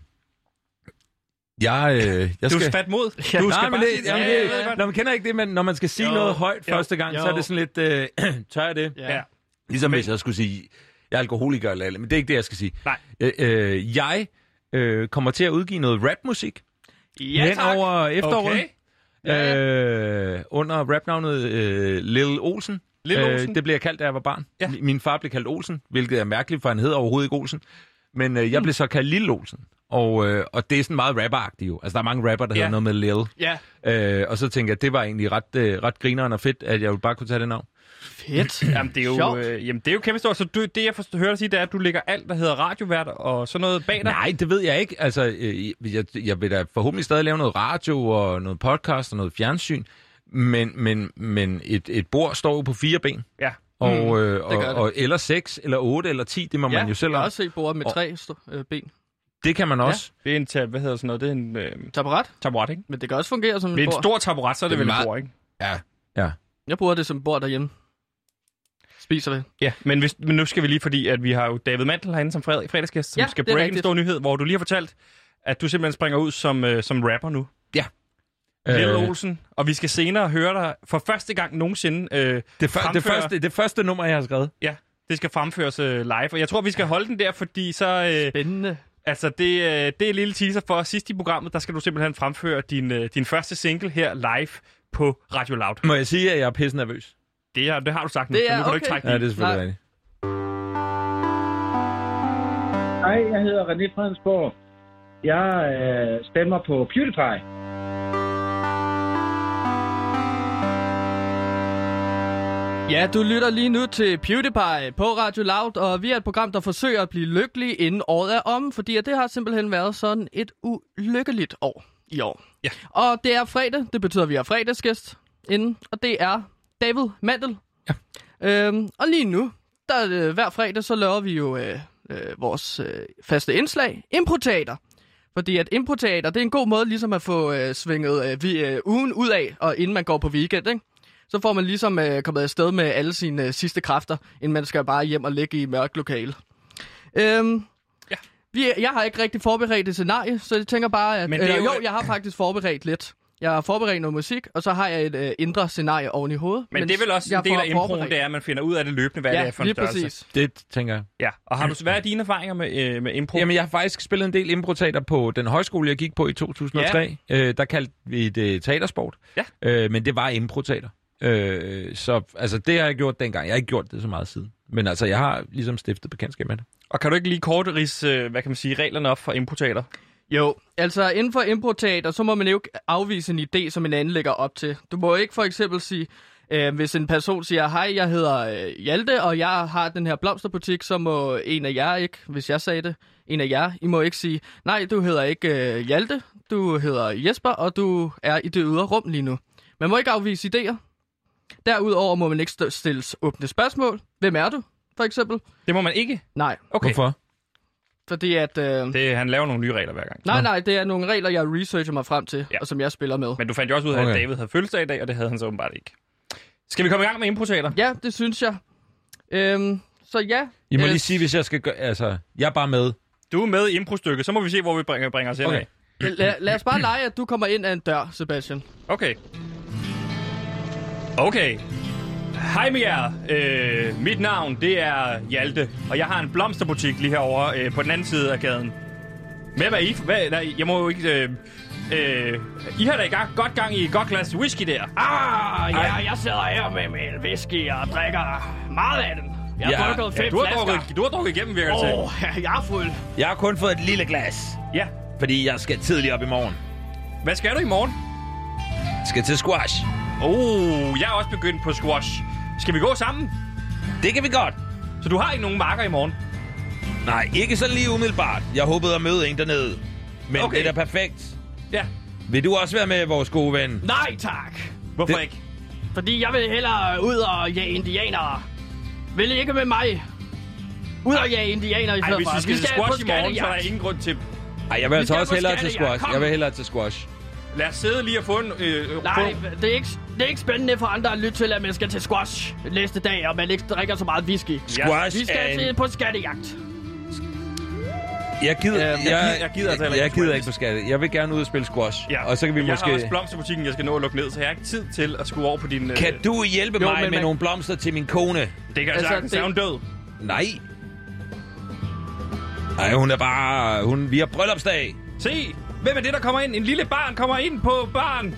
S3: jeg, øh, jeg
S1: Du
S3: skal...
S1: er fat mod. Du
S3: Ja,
S1: skal
S3: nej, men
S1: bare sige
S3: det, jamen,
S1: Ja, jeg
S3: det,
S1: ved godt.
S3: når man kender ikke det, men når man skal sige
S2: Jo,
S3: jo, noget højt
S1: jo,
S3: jo, første gang, jo. så er
S2: jo.
S3: det sådan lidt, øh, tør jeg det?
S1: Ja.
S3: Ligesom hvis jeg skulle sige, jeg er alkoholiker eller alt, men det er ikke det, jeg skal sige.
S1: Nej.
S3: Øh, øh, jeg øh, kommer til at udgive noget rapmusik
S2: Ja,
S3: hen
S2: tak.
S3: over efteråret.
S1: Okay.
S2: Ja, ja.
S3: Øh, under rapnavnet øh, Lil Olsen. Øh,
S1: Lil Olsen.
S3: det blev jeg kaldt, da jeg var barn.
S1: Ja.
S3: Mi- Min far blev kaldt Olsen, hvilket er mærkeligt, for han hed overhovedet ikke Olsen. Men
S1: Mm.
S3: øh, jeg blev så kaldt Lille Olsen. Og, øh, og det er sådan meget rapperagtigt jo. Altså, der er mange rapper, der
S1: Ja.
S3: hedder noget med Lil.
S2: Ja.
S3: Øh, og så tænkte jeg, at det var egentlig ret, øh, ret grineren og fedt, at jeg jo bare kunne tage det navn.
S2: Fedt.
S1: Jamen, det er jo,
S2: Sjovt.
S1: øh, jamen, det er jo kæmpe stort. Så du, det, jeg forstår, hører dig sige, det er, at du lægger alt, der hedder radiovært og sådan noget bag dig.
S3: Nej, det ved jeg ikke. Altså, øh, jeg, jeg vil da forhåbentlig stadig lave noget radio og noget podcast og noget fjernsyn. Men, men, men et, et bord står jo på fire ben.
S1: Ja.
S3: og, øh,
S2: Mm, det
S3: og,
S2: gør det.
S3: og, eller 6, eller 8, eller 10, det må
S2: ja,
S3: man jo selv
S2: jeg har
S3: om.
S2: også set bordet med
S3: Og-
S2: tre st- øh, ben.
S3: Det kan man også.
S1: Det er en tab, hvad hedder sådan noget? Det er en øh,
S2: Taburet,
S1: taburet, ikke?
S2: men det kan også fungere som
S1: Det er
S2: et
S1: en
S2: bord.
S1: stor taburet, så er det,
S3: Det er
S1: vel et
S3: meget-
S1: bord, ikke?
S3: Ja.
S2: Jeg bruger det som bord derhjemme. Spiser det.
S1: Ja, men, hvis, men nu skal vi lige, fordi at vi har jo David Mantel herinde som fred, fredagsgæst, som
S2: Ja,
S1: ja, skal
S2: det er
S1: break en
S2: rigtigt.
S1: stor nyhed, hvor du lige har fortalt, at du simpelthen springer ud som, øh, som rapper nu. Øh. Lille Olsen, og vi skal senere høre dig for første gang nogensinde. Øh,
S3: det, for, det,
S1: fremfører-
S3: første, det første nummer, jeg har skrevet.
S1: ja, det skal fremføres øh, live, og jeg tror, vi skal holde den der, fordi så... Øh,
S2: Spændende.
S1: Altså, det, øh, det er en lille teaser for sidst i programmet. Der skal du simpelthen fremføre din, øh, din første single her live på Radio Loud.
S3: Må jeg sige, at jeg er pisse nervøs?
S1: Det, er, det har du sagt nu,
S2: Det
S1: så
S2: er
S1: nu kan du ikke
S2: okay.
S1: trække
S3: Ja, det er
S1: den.
S3: selvfølgelig
S2: Nej.
S3: rigtigt.
S8: Hej, jeg hedder René Fredensborg. Jeg øh, stemmer på PewDiePie.
S2: Ja, du lytter lige nu til PewDiePie på Radio Loud, og vi er et program, der forsøger at blive lykkelig inden året er om, fordi at det har simpelthen været sådan et ulykkeligt år i år.
S1: Ja.
S2: Og det er fredag, det betyder, at vi har fredagsgæst inden, og det er David Mandel. Ja. Øhm, og lige nu, der øh, hver fredag, så laver vi jo øh, øh, vores øh, faste indslag, Improteater. Fordi at improteater, det er en god måde ligesom at få øh, svinget øh, vi, øh, ugen ud af, og inden man går på weekend, ikke? Så får man ligesom øh, kommet afsted med alle sine øh, sidste kræfter, inden man skal bare hjem og ligge i et mørkt lokale. Øhm,
S1: Ja.
S2: vi, jeg har ikke rigtig forberedt et scenarie, så jeg tænker bare, at...
S1: Men det er
S2: øh,
S1: jo-
S2: jo, jeg har faktisk forberedt lidt. Jeg har forberedt noget musik, og så har jeg et øh, indre scenarie oven i hovedet.
S1: Men
S2: mens
S1: det er vel også
S2: jeg
S1: en del
S2: får
S1: af improen,
S2: forberedt.
S1: det er, at man finder ud af det løbende, hvad
S2: ja,
S1: det er for en
S2: lige
S1: størrelse.
S2: præcis.
S3: Det tænker jeg.
S1: Ja, og har du, hvad er dine erfaringer med, øh, med impro?
S3: Jamen, jeg har faktisk spillet en del improteater på den højskole, jeg gik på i 2003. Øh, der kaldte vi det øh, teatersport.
S1: Ja.
S3: Øh, men det var improteater. Øh, så altså, det har jeg gjort dengang. Jeg har ikke gjort det så meget siden. Men altså, jeg har ligesom stiftet bekendtskab med det.
S1: Og kan du ikke lige kort rise, øh, hvad kan man sige, reglerne op for improteater?
S2: Jo, altså inden for improteater, så må man jo ikke afvise en idé, som en anden lægger op til. Du må ikke for eksempel sige, øh, hvis en person siger, hej, jeg hedder øh, Hjalte, og jeg har den her blomsterbutik, så må en af jer ikke, hvis jeg sagde det, en af jer, I må ikke sige, nej, du hedder ikke øh, Hjalte, du hedder Jesper, og du er i det ydre rum lige nu. Man må ikke afvise idéer. Derudover må man ikke st- stilles åbne spørgsmål. Hvem er du, for eksempel?
S1: Det må man ikke.
S2: Nej,
S1: Okay.
S3: Hvorfor?
S2: fordi at... Øh,
S1: Det, han laver nogle nye regler hver gang.
S2: Nej, nej, det er nogle regler, jeg researcher mig frem til,
S1: Ja.
S2: ja. og som jeg spiller med.
S1: Men du fandt jo også ud af, at
S3: Okay.
S1: David havde fødselsdag i dag, og det havde han så åbenbart ikke. Skal vi komme i gang med improteater?
S2: Ja, det synes jeg. Øhm, så ja.
S3: I må
S2: øh,
S3: lige sige, hvis jeg skal gøre... Altså, jeg er bare med.
S1: Du er med i improstykket, så må vi se, hvor vi bringer, bringer os hen
S3: Okay.
S1: af.
S2: Lad, lad os bare lege, at du kommer ind ad en dør, Sebastian.
S1: Okay. Okay. Hej med jer. Øh, mit navn, det er Hjalte, og jeg har en blomsterbutik lige herovre øh, på den anden side af gaden. Hvem er I? Hvad, nej, jeg må jo ikke... Øh, øh, I har da i gang, godt gang i et godt glas whisky der.
S9: Ah, ja, jeg sidder her med min whisky og drikker meget af den. Jeg har
S3: Ja,
S9: drukket
S1: ja,
S9: fem
S1: du, har
S9: flasker.
S1: drukket, du har drukket igennem, virker det til.
S9: Åh, oh, jeg er fuld.
S3: Jeg har kun fået et lille glas,
S1: Ja.
S3: fordi jeg skal tidligt op i morgen.
S1: Hvad skal du i morgen?
S3: Skal til squash.
S1: Oh, jeg er også begyndt på squash. Skal vi gå sammen?
S3: Det kan vi godt.
S1: Så du har ikke nogen marker i morgen?
S3: Nej, ikke så lige umiddelbart. Jeg håbede at møde en dernede. Men
S1: Okay.
S3: da perfekt.
S1: Ja.
S3: Vil du også være med, vores gode ven?
S9: Nej, tak.
S1: Hvorfor
S3: Det-
S1: ikke?
S9: Fordi jeg vil hellere ud og jage indianere. Vil I ikke med mig? Ud og jage indianer i
S1: Ej,
S9: stedet
S1: hvis
S9: for.
S1: vi skal, til
S9: på
S1: squash i morgen, så er der
S9: skattejagt.
S1: ingen grund til
S3: Ej, jeg vil altså
S9: skal
S3: også
S9: på
S3: hellere til
S9: skattejagt.
S3: squash.
S9: Kom.
S3: Jeg vil hellere til squash.
S1: Lad os sidde lige og få en... Øh,
S9: Nej,
S1: Få...
S9: det er, ikke, det er ikke spændende for andre at lytte til, at man skal til squash næste dag, og man ikke drikker så meget whisky.
S3: Squash
S9: Vi
S3: er
S9: skal
S3: en-
S9: til på skattejagt.
S3: Jeg gider, jeg,
S1: gider- jeg gider altså heller ikke
S3: jeg, jeg gider
S1: squash.
S3: ikke på skatte. Jeg vil gerne ud og spille squash.
S1: Ja.
S3: Og så kan vi
S1: jeg
S3: måske...
S1: har også blomsterbutikken, jeg skal nå at lukke ned, så jeg har ikke tid til at skue over på din... øh,
S3: Kan du hjælpe
S2: Jo,
S3: jo,
S2: men
S3: mig med
S2: man-
S3: man... nogle blomster til min kone?
S1: Det kan altså,
S2: Altså,
S1: sagtens,
S2: det-
S1: det... hun død.
S3: Nej. Nej, hun er bare... Hun, vi har bryllupsdag.
S1: Se, hvem er det, der kommer ind? En lille barn kommer ind på barn.
S4: Hej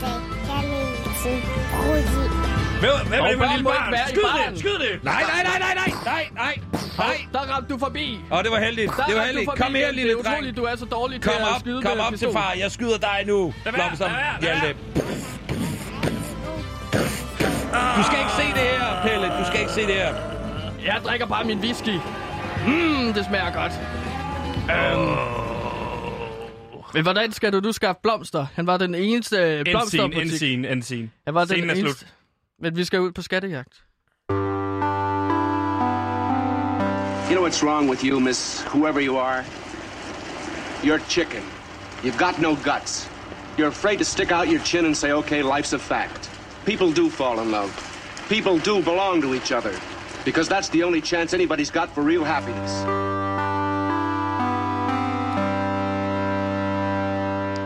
S4: far, have en rigtig god fødselsdag. Kærligheden, Rudi.
S1: Hvem, hvem er
S2: Og
S1: det for
S2: børn
S1: en lille
S2: må ikke
S1: barn?
S2: være i
S1: Skyd
S2: baren.
S1: det, skyd det.
S3: Nej, nej, nej, nej, nej, nej, nej, nej.
S2: Der ramte du forbi. Der
S3: Åh, det var heldigt. Det var
S2: ramte
S3: heldigt.
S2: du forbi.
S3: Kom her, lille
S2: Det er
S3: dreng.
S2: utroligt, du er så dårlig
S3: Kom
S2: til at
S3: op,
S2: skyde
S3: kom
S2: med
S3: op til
S2: pistol.
S3: far. Jeg skyder dig nu.
S1: Lad være,
S3: Blomster.
S1: lad være, lad
S3: Hjalte. Du skal ikke se det her, Pelle. Du skal ikke se det her.
S9: Jeg drikker bare min whisky.
S2: Mm,
S9: Mmm, det smager godt.
S2: Øhm. Men hvordan skal du nu skaffe blomster? Han var den eneste øh,
S1: End scene, end
S2: blomsterbutik.
S1: scene, end scene.
S2: Han var den
S1: Scenen er
S2: eneste...
S1: slut.
S2: Men vi skal ud på skattejagt.
S10: You know what's wrong with you, miss, whoever you are? You're chicken. You've got no guts. You're afraid to stick out your chin and say, okay, life's a fact. People do fall in love. People do belong to each other. Because that's the only chance anybody's got for real happiness.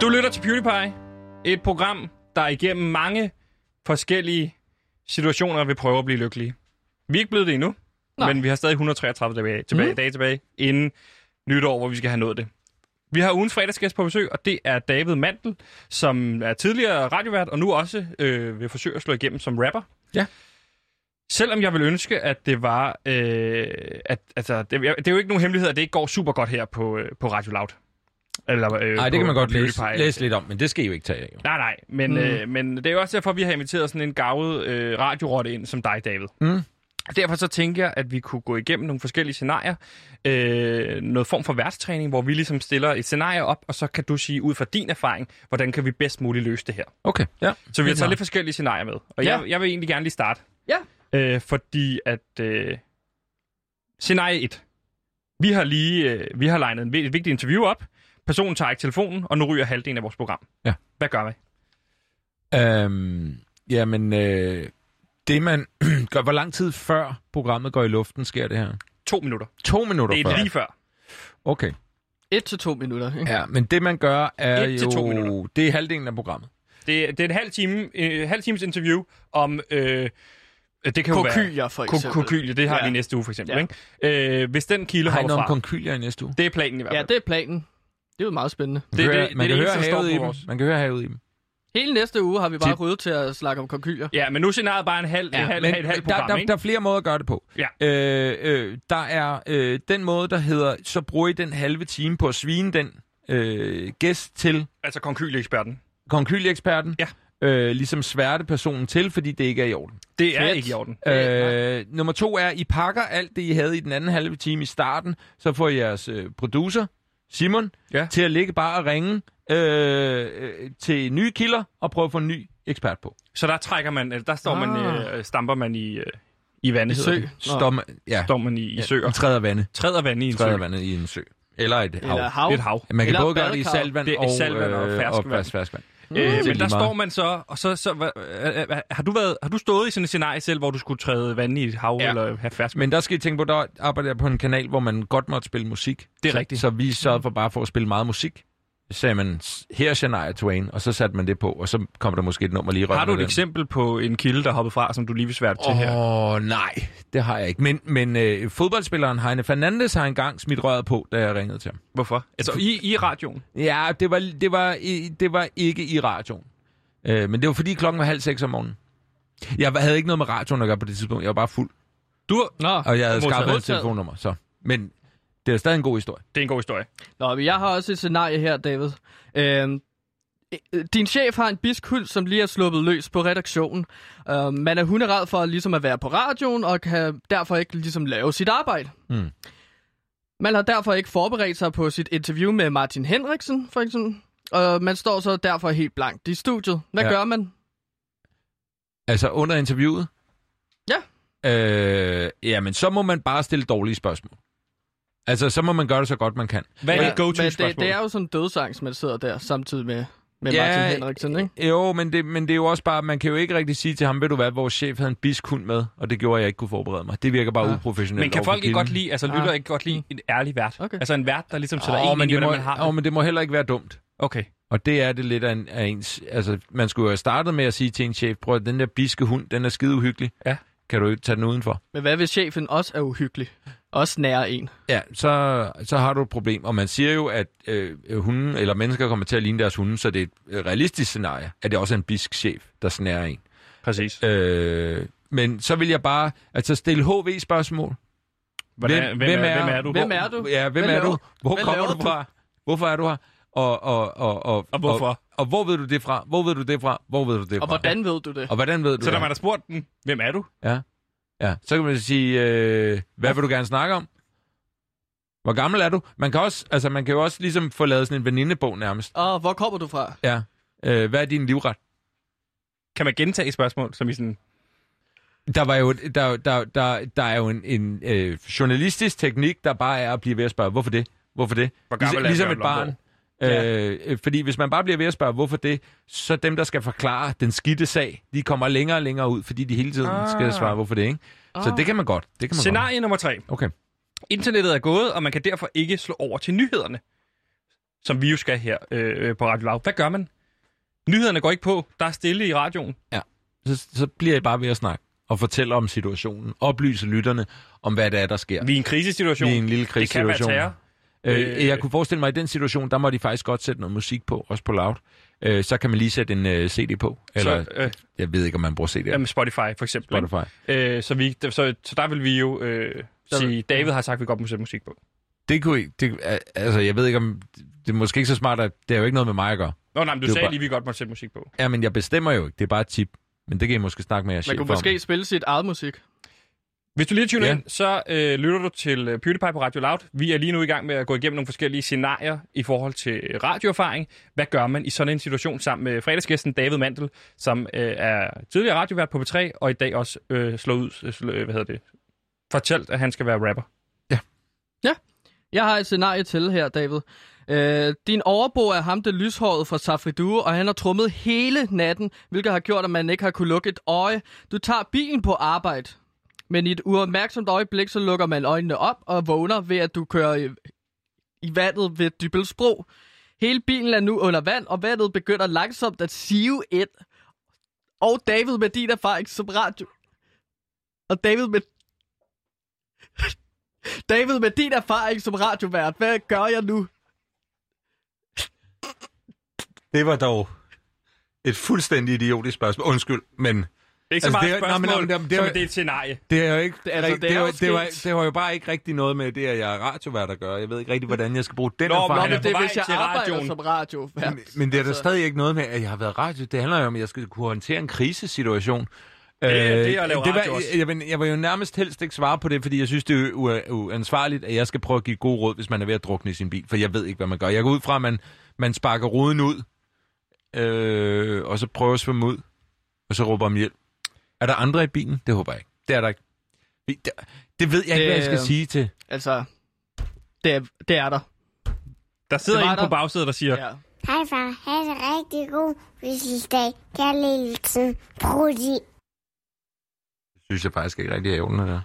S1: Du lytter til PewDiePie, et program, der igennem mange forskellige situationer vil prøve at blive lykkelige. Vi er ikke blevet det endnu, Nej. men vi har stadig 133 dage tilbage, mm. dage tilbage inden nytår, hvor vi skal have nået det. Vi har ugens fredagsgæst på besøg, og det er David Mantel, som er tidligere radiovært, og nu også øh, vil forsøge at slå igennem som rapper.
S3: Ja.
S1: Selvom jeg vil ønske, at det var... Øh, at, altså, det, det er jo ikke nogen hemmelighed, at det ikke går super godt her på, øh, på Radio Loud. Eller, øh,
S3: Nej,
S1: på-
S3: det kan man godt
S1: på
S3: læse,
S1: PewDiePie.
S3: læse lidt om, men det skal I jo ikke tage af. jo.
S1: Nej, nej, men, mm. øh, men det er jo også derfor, vi har inviteret sådan en gavet øh, radiorotte ind som dig, David.
S3: Mm.
S1: Derfor så tænker jeg, at vi kunne gå igennem nogle forskellige scenarier. Øh, noget form for værtstræning, hvor vi ligesom stiller et scenarie op, og så kan du sige ud fra din erfaring, hvordan kan vi bedst muligt løse det her.
S3: Okay,
S1: Så vi
S3: ja.
S1: har
S3: Helt
S1: taget
S3: klart.
S1: lidt forskellige scenarier med. Og
S2: Ja.
S1: jeg, jeg vil egentlig gerne lige starte.
S2: Ja.
S1: Øh, fordi at... Øh, scenarie 1. Vi har lige øh, vi har legnet en vi- et vigtigt interview op. Personen tager ikke telefonen, og nu ryger halvdelen af vores program.
S3: Ja.
S1: Hvad gør vi?
S3: Øhm, jamen, øh, det man gør, hvor lang tid før programmet går i luften, sker det her?
S1: To minutter.
S3: To minutter
S1: Det er
S3: før?
S1: lige før.
S3: Okay.
S2: Et til to minutter, ikke?
S3: Ja, men det man gør er
S1: Et til to
S3: jo...
S1: minutter.
S3: Det er halvdelen af programmet.
S1: Det, er- det er en halv, time, øh, halv times interview om... Øh, det kan jo være...
S2: Kokyler, for eksempel.
S1: Kokylie, det har
S2: Ja.
S1: vi næste uge for eksempel.
S2: Ja.
S1: Ikke? Øh, hvis den kilde
S3: Har I
S1: hopper
S3: noget om
S1: fra,
S3: konkylier i næste uge?
S1: det er planen i hvert
S2: Ja,
S1: fald.
S2: det er planen. Det er jo meget spændende.
S3: Man
S1: Det-
S3: kan
S1: det-
S3: høre,
S1: det er
S3: man kan
S1: det
S3: høre
S1: eneste, der
S3: havet
S1: står
S3: i
S1: på
S3: dem.
S1: vores.
S3: Man kan høre havet i dem.
S2: Hele næste uge har vi bare
S3: Til-
S2: ryddet til at snakke om konkyler.
S1: Ja, men nu er scenariet bare en halv, ja, en halv,
S3: men
S1: et halvt
S3: der,
S1: program,
S3: der,
S1: ikke?
S3: der er flere måder at gøre det på.
S1: Ja.
S3: Øh, øh, der er øh, den måde, der hedder, så bruger I den halve time på at svine den øh, gæst til
S1: Altså konkylieeksperten.
S3: konkyleeksperten.
S1: Ja.
S3: Øh, ligesom sværte personen til, fordi det ikke er i orden.
S1: Det er ikke i orden.
S3: Øh, nummer to er, I pakker alt det, I havde i den anden halve time i starten, så får I jeres øh, producer, Simon,
S1: Ja.
S3: til at ligge bare og ringe øh, øh, til nye kilder og prøve at få en ny ekspert på.
S1: Så der trækker man, eller der står man,
S2: Ah.
S1: øh, stamper man i, øh, i vandet.
S2: I
S1: hedder
S2: sø.
S1: det.
S3: Står man, ja,
S1: Står man i, i søer.
S3: I træder vandet.
S1: Træder vand i en sø.
S3: Træder vandet i en sø. Eller et hav.
S2: Eller hav.
S1: Et hav.
S3: Man kan
S2: Eller
S3: både gøre det i
S2: badekar.
S3: saltvand
S1: Det er
S3: og,
S1: saltvand og
S3: øh,
S1: ferskvand.
S3: og fersk- ferskvand.
S1: Øh,
S3: Det er
S1: men der
S3: lige meget.
S1: står man så, og så, så hva- øh, øh, har, du været, har du stået i sådan et scenarie selv, hvor du skulle træde vand i et hav
S3: Ja.
S1: ja. eller have fersk?
S3: Men der skal I tænke på, der arbejder jeg på en kanal, hvor man godt måtte spille musik.
S1: Det er
S3: så,
S1: rigtigt.
S3: Så vi sørgede for bare for at spille meget musik. Så sagde man, her er Shania Twain, og så satte man det på, og så kommer der måske et nummer lige i røven
S1: Har du
S3: af
S1: et
S3: den.
S1: eksempel på en kilde, der hoppede fra, som du lige vil svært til her?
S3: Åh, oh, nej, det har jeg ikke. Men, men øh, fodboldspilleren Heine Fernandes har engang smidt røret på, da jeg ringede til ham.
S1: Hvorfor? Altså i, i radioen?
S3: Ja, det var, det var, i- det var ikke i radioen. Øh, men det var fordi klokken var halv seks om morgenen. Jeg havde ikke noget med radioen at gøre på det tidspunkt. Jeg var bare fuld,
S1: Du,
S2: Nå.
S3: og jeg havde
S1: Modtaget.
S3: skaffet hans
S2: Modtaget.
S3: telefonnummer. Så. Men det er stadig en god historie.
S1: det er en god historie.
S2: Nå, men jeg har også et scenarie her, David. Øhm, øh, din chef har en biskuld, som lige er sluppet løs på redaktionen. Øhm, man er hunderad for ligesom at være på radioen, og kan derfor ikke ligesom lave sit arbejde.
S3: Mm.
S2: Man har derfor ikke forberedt sig på sit interview med Martin Henriksen, for eksempel. Og man står så derfor helt blankt i studiet. Hvad
S3: Ja.
S2: ja. gør man?
S3: Altså under interviewet?
S2: Ja.
S3: Øh, jamen, så må man bare stille dårlige spørgsmål. Altså, så må man gøre det så godt, man kan.
S1: Hvad er dit
S2: men det,
S1: go-to-spørgsmål?
S2: det er jo sådan en dødsangst, man sidder der samtidig med, med
S3: Ja,
S2: Martin Henriksen, ikke?
S3: Jo, men det, men det er jo også bare, man kan jo ikke rigtig sige til ham, ved du hvad, vores chef havde en biskund med, og det gjorde, at jeg ikke kunne forberede mig. Det virker bare
S2: Ja.
S3: ja. uprofessionelt.
S1: Men kan
S3: overfor
S1: folk ikke
S3: kilden.
S1: godt lide, altså lytter
S2: Ah.
S1: ikke godt lide en ærlig vært?
S2: Okay.
S1: Altså en vært, der ligesom sætter
S3: Åh,
S1: en
S3: men,
S1: ind i,
S3: det
S1: hvordan
S3: må,
S1: man har
S3: åh,
S1: det.
S3: men det må heller ikke være dumt.
S1: Okay.
S3: Og det er det lidt af, en, af ens... Altså, man skulle jo have startet med at sige til en chef, prøv at den der biske hund, den er skide uhyggelig.
S1: Ja.
S3: Kan du ikke tage den udenfor?
S2: Men hvad hvis chefen også er uhyggelig? Også nærer en.
S3: Ja, så, så har du et problem. Og man siger jo, at øh, hunden eller mennesker kommer til at ligne deres hunde, så det er et øh, realistisk scenarie, at det også er en bisk chef, der snærer en.
S1: Præcis.
S3: Øh, men så vil jeg bare altså stille HV-spørgsmål.
S1: Hvordan, hvem, hvem, er, hvem er du?
S2: Hvem er du?
S3: Ja, hvem,
S2: Hvad
S3: er du?
S2: laver-
S3: Hvor
S2: hvad
S3: kommer
S2: laver
S3: du fra? Hvorfor er du her? Og, og, og, og,
S1: Og hvorfor?
S3: Og, og hvor ved du det fra? Hvor ved du det fra? Hvor ved du det fra?
S2: Og hvordan ved du det?
S3: Og hvordan ved du
S1: Så
S3: det?
S1: når man har spurgt den, hvem er du?
S3: Ja, så kan man sige, øh, hvad vil du gerne snakke om? Hvor gammel er du? Man kan, også, altså, man kan jo også ligesom få lavet sådan en venindebog nærmest.
S2: Og hvor kommer du fra?
S3: Ja. Øh, hvad er din livret?
S1: Kan man gentage et spørgsmål, som i sådan...
S3: Der, var jo, der, der, der, der er jo en, en øh, journalistisk teknik, der bare er at blive ved at spørge, hvorfor det? Hvorfor det?
S1: Hvor gammel er
S3: ligesom
S1: Bjørn
S3: et barn. Øh, øh, fordi hvis man bare bliver ved at spørge, hvorfor det, så dem, der skal forklare den skidte sag, de kommer længere og længere ud, fordi de hele tiden ah. skal svare, hvorfor det, ikke?
S1: Ah.
S3: Så det kan man godt. Det kan man
S1: Scenarie nummer tre.
S3: godt. Okay.
S1: Internettet er gået, og man kan derfor ikke slå over til nyhederne, som vi jo skal her øh, på Radio Loud. Hvad gør man? Nyhederne går ikke på. Der er stille i radioen.
S3: Så, så bliver I bare ved at snakke og fortælle om situationen, oplyse lytterne om, hvad det er, der sker.
S1: Vi er i en krisesituation.
S3: Vi er i en lille
S1: det kan være
S3: krisesituation.
S1: terror.
S3: Øh, jeg kunne forestille mig, at i den situation, der må de faktisk godt sætte noget musik på, også på loud. Øh, så kan man lige sætte en øh, CD på. Eller,
S1: Så, øh,
S3: jeg ved ikke, om man bruger CD
S1: jamen
S3: eller
S1: Spotify for eksempel. ikke?
S3: Spotify.
S1: Øh, så, vi, så, så der vil vi jo øh, sige, David har sagt, at vi godt må sætte musik på.
S3: Det kunne I- det, altså, jeg ved ikke, om det er måske ikke så smart, at det er jo ikke noget med mig at gøre.
S1: Nå nej, men du
S3: Det er
S1: sagde
S3: bare-
S1: lige, at vi godt må sætte musik på.
S3: Ja, men jeg bestemmer jo ikke. Det er bare et tip. Men det kan I måske snakke med jer
S2: Man
S3: chef
S2: kunne
S3: om.
S2: måske spille sit eget musik.
S1: Hvis du lige tuner
S3: Ja.
S1: ind, så øh, lytter du til øh, PewDiePie på Radio Loud. Vi er lige nu i gang med at gå igennem nogle forskellige scenarier i forhold til øh, radioerfaring. Hvad gør man i sådan en situation sammen med fredagsgæsten David Mandel, som øh, er tidligere radiovært på B3, og i dag også øh, slået ud, øh, slå, øh, hvad hedder det, fortalt, at han skal være rapper.
S2: Jeg har et scenarie til her, David. Øh, din overbo er ham, det lyshåret fra Safri Due, og han har trummet hele natten, hvilket har gjort, at man ikke har kunne lukke et øje. Du tager bilen på arbejde, men i et uopmærksomt øjeblik, så lukker man øjnene op og vågner ved, at du kører i, i vandet ved Dybelsbro. Hele bilen er nu under vand, og vandet begynder langsomt at sive ind. Og David med din erfaring som radio... Og David med David, med din erfaring som radiovært, hvad gør jeg nu?
S3: Det var dog et fuldstændig idiotisk spørgsmål. Undskyld, men
S1: Det er ikke
S3: Altså,
S1: så meget
S3: det er-
S1: et
S3: nå, men-
S1: spørgsmål,
S3: nå, men det er-
S1: det, som
S3: det er-
S1: det er et scenarie.
S3: det er jo ikke...
S2: Altså,
S3: rigt-
S2: det er
S3: det,
S2: jo
S3: var, det, var,
S2: sket.
S3: det var jo bare ikke rigtig noget med det, at jeg er radiovært at gøre. Jeg ved ikke rigtig, hvordan jeg skal bruge den
S1: Nå, men-
S3: erfaring.
S1: Han er
S2: Nå, men
S1: på
S2: det er,
S1: vej
S2: hvis jeg
S1: til
S2: arbejder
S1: radioen.
S2: som radiovært.
S3: Men, men det er der
S2: Altså-
S3: stadig ikke noget med, at jeg har været radio. Det handler jo om, at jeg skal kunne håndtere en krisesituation. Øh,
S1: det er at lave radio
S3: var,
S1: også.
S3: jeg, jeg, jeg vil jo nærmest helst ikke svare på det, fordi jeg synes, det er u- uansvarligt, at jeg skal prøve at give gode råd, hvis man er ved at drukne i sin bil. For jeg ved ikke, hvad man gør. Jeg går ud fra, at man, man sparker ruden ud, øh, og så prøver at svømme ud, og så råber om hjælp. Er der andre i bilen? Det håber jeg ikke. Det er der ikke. Det, det ved jeg ikke, hvad jeg skal
S2: Det-
S3: sige til.
S2: Altså, det er, det er der.
S1: Der sidder
S2: det var
S1: en på
S2: der.
S1: bagsædet, der siger,
S2: Ja.
S4: Hej far, ha' en rigtig god fødselsdag. Kærlighedsen, Prudi.
S3: Det synes jeg faktisk ikke rigtig er i orden, det der.
S1: Okay,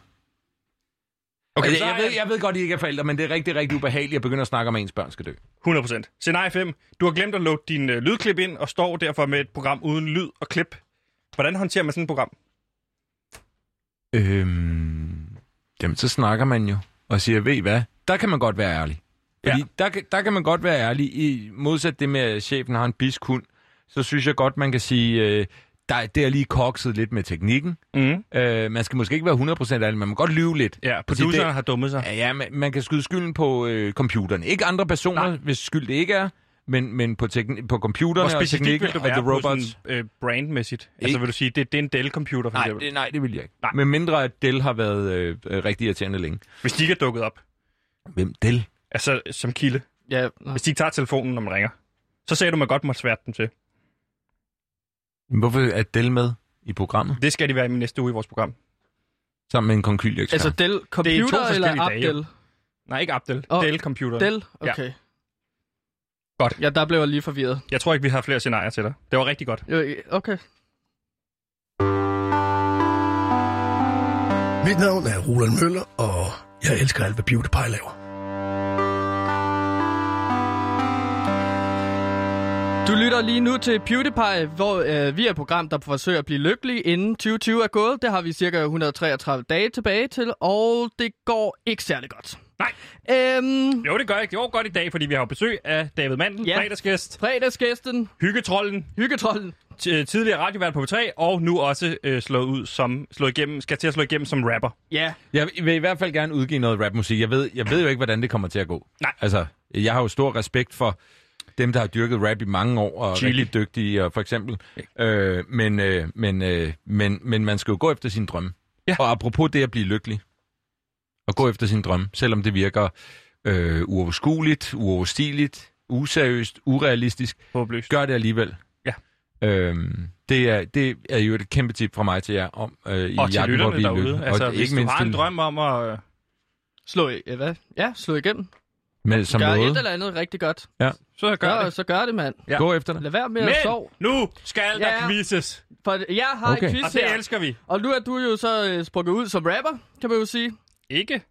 S3: Okay,
S1: så
S3: altså,
S1: er
S3: jeg, ved,
S1: jeg-
S3: jeg ved godt, I ikke er forældre, men det er rigtig, rigtig ubehageligt at begynde at snakke om, at ens børn skal dø.
S1: 100%. Scenarie 5. Du har glemt at lukke din øh, lydklip ind, og står derfor med et program uden lyd og klip. Hvordan håndterer man sådan et program?
S3: Øhm, jamen, så snakker man jo og siger, ved I hvad, der kan man godt være ærlig.
S1: Ja.
S3: Fordi ja. der, kan- der kan man godt være ærlig. I modsat det med, at chefen har en bisk hund, så synes jeg godt, man kan sige, øh, der, det er lige kokset lidt med teknikken.
S1: Mm.
S3: Øh, man skal måske ikke være 100% ærlig, men man må godt lyve lidt.
S1: Altså, Ja,
S3: Og sige,
S1: produceren
S3: det-
S1: har dummet sig.
S3: Ja, ja man, man kan skyde skylden på øh, computeren. Ikke andre personer, Nej. hvis skyld det ikke er, men, men på, tekni- på computeren
S1: Hvor
S3: og
S1: specifikt
S3: teknikken
S1: vil du
S3: og
S1: være
S3: the robots.
S1: på sådan, øh, brandmæssigt? Altså
S3: Ikke-
S1: vil du sige, det, det er en Dell-computer for
S3: Nej,
S1: eksempel?
S3: det, nej, det vil jeg ikke.
S1: Nej.
S3: Nej. Med mindre at Dell har været øh, øh, rigtig irriterende længe.
S1: Hvis de ikke er dukket op,
S3: Hvem Dell?
S1: altså som kilde.
S2: Ja, nå.
S1: Hvis de ikke tager telefonen, når man ringer. Så sagde du, man godt måtte svært dem til.
S3: Hvorfor er Dell med i programmet?
S1: Det skal de være i min næste uge i vores program.
S3: Sammen med en konkylie
S2: altså Dell Computer eller
S1: forskellige dage,
S2: Abdel?
S1: Nej, ikke Abdel.
S2: Åh,
S1: Dell-computer.
S2: Dell? Okay. Ja.
S1: Godt.
S2: Ja, der blev jeg lige forvirret.
S1: Jeg tror ikke, vi har flere scenarier til dig. Det var rigtig godt.
S2: Jo, Okay.
S11: Mit navn er Roland Møller, og jeg elsker alt, hvad PewDiePie laver.
S2: Du lytter lige nu til PewDiePie, hvor øh, vi er et program, der forsøger at blive lykkelig, inden 2020 er gået. Det har vi cirka 133 dage tilbage til, og det går ikke særlig godt.
S1: Nej.
S2: Øhm,
S1: Jo, det gør jeg. Det går godt i dag, fordi vi har jo besøg af David Mandel, ja.
S2: Ja.
S1: fredagsgæst,
S2: fredagsgæsten,
S1: hyggetrollen,
S2: hyggetrollen,
S1: t- øh, tidligere radiovært på P3, og nu også øh, slået ud som, slået igennem, skal til at slå igennem som rapper.
S2: ja,
S3: Jeg vil i hvert fald gerne udgive noget rapmusik. Jeg ved, jeg ved jo ikke, hvordan det kommer til at gå.
S1: Nej.
S3: Altså, jeg har jo stor respekt for dem, der har dyrket rap i mange år, og er
S1: Chili.
S3: rigtig dygtige, og for eksempel. Øh, men, øh, men, øh, men, men man skal jo gå efter sin drømme.
S1: Ja.
S3: Og apropos det at blive lykkelig, og gå efter sin drømme, selvom det virker øh, uoverskueligt, uoverstigeligt, useriøst, urealistisk,
S1: Håbløst.
S3: gør det alligevel.
S1: Ja.
S3: Øhm, det er, det er jo et kæmpe tip fra mig til jer om øh, i
S1: Og til
S3: Jagten på
S1: lytterne
S3: at blive
S1: derude.
S3: lykkelig.
S1: Altså,
S3: og
S1: hvis ikke du har en
S3: det-
S1: drøm om at... øh,
S2: Slå, i- øh, hvad? Ja, slå igennem.
S3: Med, som
S2: gør
S3: noget.
S2: et eller andet rigtig godt.
S3: Ja.
S1: Så gør det.
S2: Så gør det, mand.
S3: Ja. Gå efter det.
S2: Lad være med
S1: Men
S2: at sove.
S1: nu skal der
S2: Ja.
S1: quizzes.
S2: For jeg har okay.
S3: Okay.
S2: et quiz
S1: Og det
S2: her.
S1: elsker vi.
S2: Og nu er du jo så øh, sprunget ud som rapper, kan man jo sige.
S1: Ikke?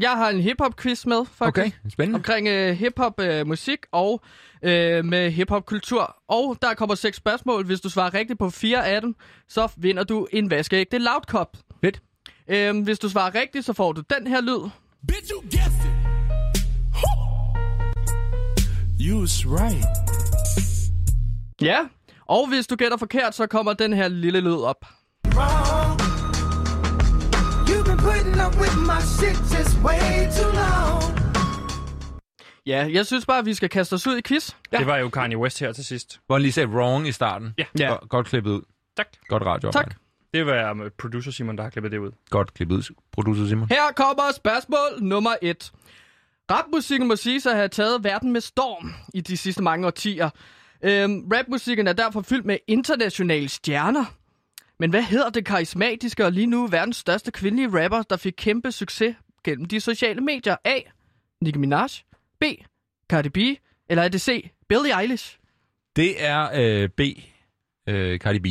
S2: Jeg har en hip-hop-quiz med, faktisk.
S3: Okay, spændende.
S2: Omkring øh, hip-hop-musik og øh, med hip-hop-kultur. Og der kommer seks spørgsmål. Hvis du svarer rigtigt på fire af dem, så vinder du en vaskeægte loud cup.
S3: Fedt.
S2: Øhm, hvis du svarer rigtigt, så får du den her lyd.
S12: Bitch, you guessed it. You was right.
S2: Ja. Og hvis du gætter forkert, så kommer den her lille lyd op.
S12: Wrong. You've been putting up with my shit just way too long.
S2: Ja, jeg synes bare, at vi skal kaste os ud i quiz.
S1: Ja. Det var jo Kanye West her til sidst.
S3: Hvor han lige sagde wrong i starten.
S1: Ja.
S2: Ja.
S3: Godt, godt klippet ud.
S1: Tak.
S3: Godt radio.
S2: Tak.
S1: Det var med producer Simon, der har klippet det ud.
S3: Godt klippet ud, producer Simon.
S2: Her kommer spørgsmål nummer et. Rapmusikken må siges at have taget verden med storm i de sidste mange årtier. Øhm, rapmusikken er derfor fyldt med internationale stjerner. Men hvad hedder det karismatiske og lige nu verdens største kvindelige rapper, der fik kæmpe succes gennem de sociale medier? A. Nicki Minaj. B. Cardi B. Eller er det C. Billie Eilish?
S3: Det er øh, B. Øh, Cardi B.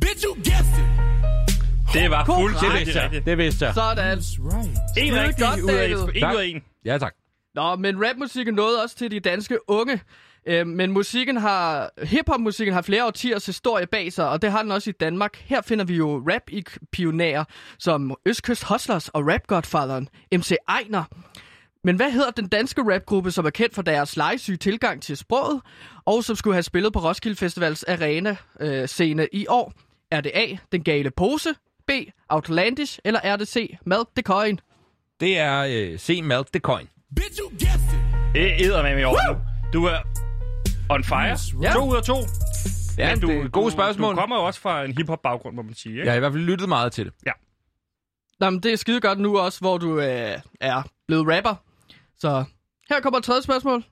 S12: Bitch, you guessed it.
S1: Det var
S2: God
S1: fuldstændig
S2: ret.
S1: rigtigt.
S3: Det vidste jeg.
S2: Sådan.
S12: That's right.
S1: En
S2: Skide
S1: rigtig
S2: godt,
S1: ud af
S2: David.
S1: en. En
S3: Tak.
S1: ud af en.
S3: Ja, tak.
S2: Nå, men rapmusikken nåede også til de danske unge. Øh, men musikken har, hiphopmusikken har flere årtiers historie bag sig, og det har den også i Danmark. Her finder vi jo rap-pionerer som Østkyst Hustlers og rap-godfatheren MC Ejner. Men hvad hedder den danske rapgruppe, som er kendt for deres legesyge tilgang til sproget, og som skulle have spillet på Roskilde Festivals arena øh, scene i år? Er det A, Den Gale Pose, B, Outlandish, eller er det C, Mad The Coin?
S3: Det er øh, C. Malt the Coin.
S12: Bitch, you guessed it.
S1: Det æder med mig over. nu. Du er on fire.
S2: Ja.
S1: To ud af to.
S3: Ja,
S1: Men
S3: du, det er gode spørgsmål.
S1: Du, du kommer jo også fra en hip-hop baggrund, må man sige. Ikke?
S3: Jeg har i hvert fald lyttet meget til det.
S2: Nå, men det er skide godt nu også, hvor du øh, er blevet rapper. Så her kommer et tredje spørgsmål.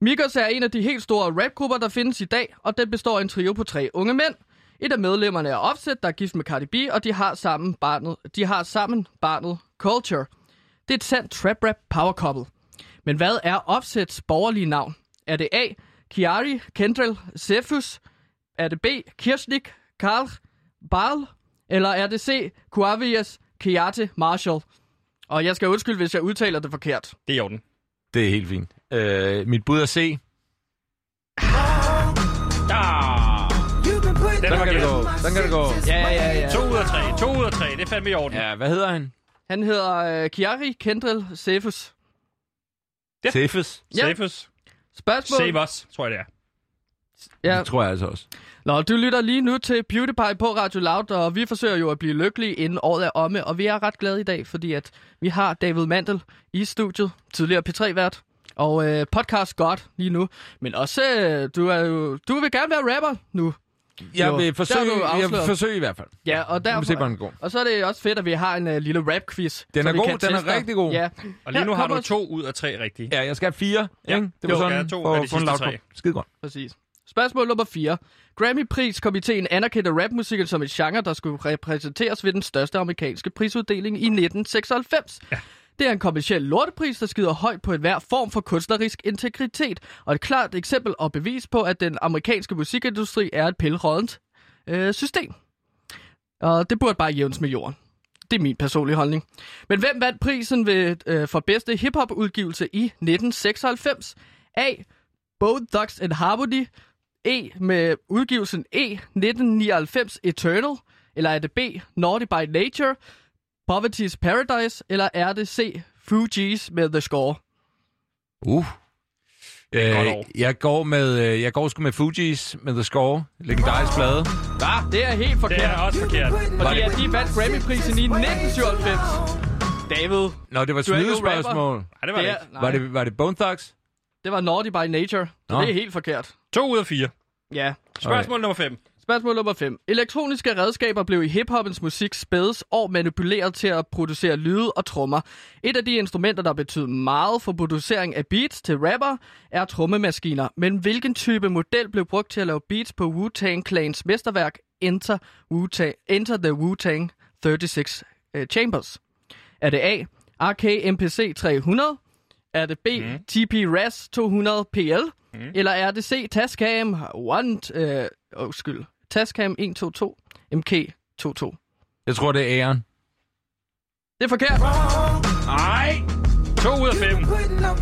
S2: Migos er en af de helt store rapgrupper, der findes i dag, og den består af en trio på tre unge mænd. Et af medlemmerne er Offset, der er gift med Cardi B, og de har sammen barnet, de har sammen barnet Culture. Det er et sandt trap-rap power couple. Men hvad er Offsets borgerlige navn? Er det A. Kiari, Kendrell, Cephus? Er det B. Kirsnik, Karl, Barl? Eller er det C. Kuavias, Kiate, Marshall? Og jeg skal undskylde, hvis jeg udtaler det forkert.
S1: Det er i orden.
S3: Det er helt fint. Øh, mit bud er C.
S12: You've been putting
S1: Den
S12: up
S1: kan det
S12: with
S1: gå.
S12: my
S3: Den kan det
S12: shit
S3: gå.
S12: just
S2: Ja,
S12: way
S2: ja, ja.
S1: To ud af tre. To ud af tre. Det er fandme i orden.
S3: Ja, hvad hedder han?
S2: Han hedder øh, Kiari, Kendrell, Cephus.
S1: Ja.
S3: Cephas.
S2: Ja.
S1: Save us.
S2: Spørgsmål?
S1: Save us, tror jeg det er.
S3: Ja.
S2: Ja.
S3: Det tror jeg altså også.
S2: Nå, du lytter lige nu til Beauty Pie på Radio Loud, og vi forsøger jo at blive lykkelige inden året er omme, og vi er ret glade i dag, fordi at vi har David Mandel i studiet, tidligere P3-vært, og øh, podcast godt lige nu, men også, øh, du, er jo, du vil gerne være rapper nu.
S3: Jeg
S2: Jo.
S3: vil forsøge,
S2: Der er du
S3: jeg vil
S2: afsløret.
S3: forsøge i hvert fald.
S2: Ja, og
S3: Vi må se, hvor den
S2: derfor...
S3: går.
S2: Og så er det også fedt, at vi har en øh, lille rap-quiz.
S3: Den
S2: så
S3: er
S2: vi
S3: god,
S2: kan
S3: den er
S2: teste dig.
S3: rigtig god.
S2: Ja.
S1: Og lige
S2: Her
S1: nu har
S2: kommer-
S1: du to ud af tre rigtige.
S3: Ja, jeg skal have fire.
S1: Ja.
S3: ikke? Det var
S1: Jo,
S3: sådan,
S1: jeg er to
S3: for
S1: af
S3: at
S1: de
S3: få en
S1: sidste
S3: lavkop.
S1: tre.
S3: Skide godt.
S2: Præcis. Spørgsmål nummer 4. Grammy-priskomiteen anerkendte rapmusikken som et genre, der skulle repræsenteres ved den største amerikanske prisuddeling i 1996. Ja. Det er en kommersiel lortepris, der skider højt på enhver form for kunstnerisk integritet, og et klart eksempel og bevis på, at den amerikanske musikindustri er et pillerådent øh, system. Og det burde bare jævnes med jorden. Det er min personlige holdning. Men hvem vandt prisen ved, øh, for bedste hiphop-udgivelse i 1996? A. Both Thugs and Harmony, E med udgivelsen E 1999 Eternal, eller er det B Naughty by Nature, Poverty's Paradise, eller er det C Fugees med The Score?
S3: Uh.
S1: er godt
S3: Øh,
S1: over.
S3: jeg går med, øh, jeg går sgu med Fugees med The Score. Legendarisk plade.
S2: Ah, det er helt
S1: Det er
S2: forkert,
S1: også forkert.
S2: fordi at de vandt Grammy-prisen i 1997. David,
S3: Nå, det var et
S2: Du er ikke
S3: snydespørgsmål.
S1: Nej, det var det
S2: er-
S1: ikke.
S2: nej,
S3: Var det, var det Bone Thugs?
S2: det var Naughty by Nature, så
S3: Nå.
S2: det er helt forkert.
S1: To ud af fire.
S2: Ja,
S1: Spørgsmål nummer fem.
S2: Spørgsmål nummer 5. Elektroniske redskaber blev i hiphoppens musik spædes og manipuleret til at producere lyde og trommer. Et af de instrumenter, der betød meget for producering af beats til rapper, er trommemaskiner. Men hvilken type model blev brugt til at lave beats på Wu-Tang Clans mesterværk Enter, Wu-Tang, Enter the Wu-Tang 36 uh, Chambers? Er det A. RKMPC 300? Er det B. Mm. TP RAS 200 PL? Mm. Eller er det C, Tascam 1, øh, undskyld, Tascam 122, MK22?
S3: Jeg tror, det er æren.
S2: Det er forkert.
S1: Nej. 2 ud af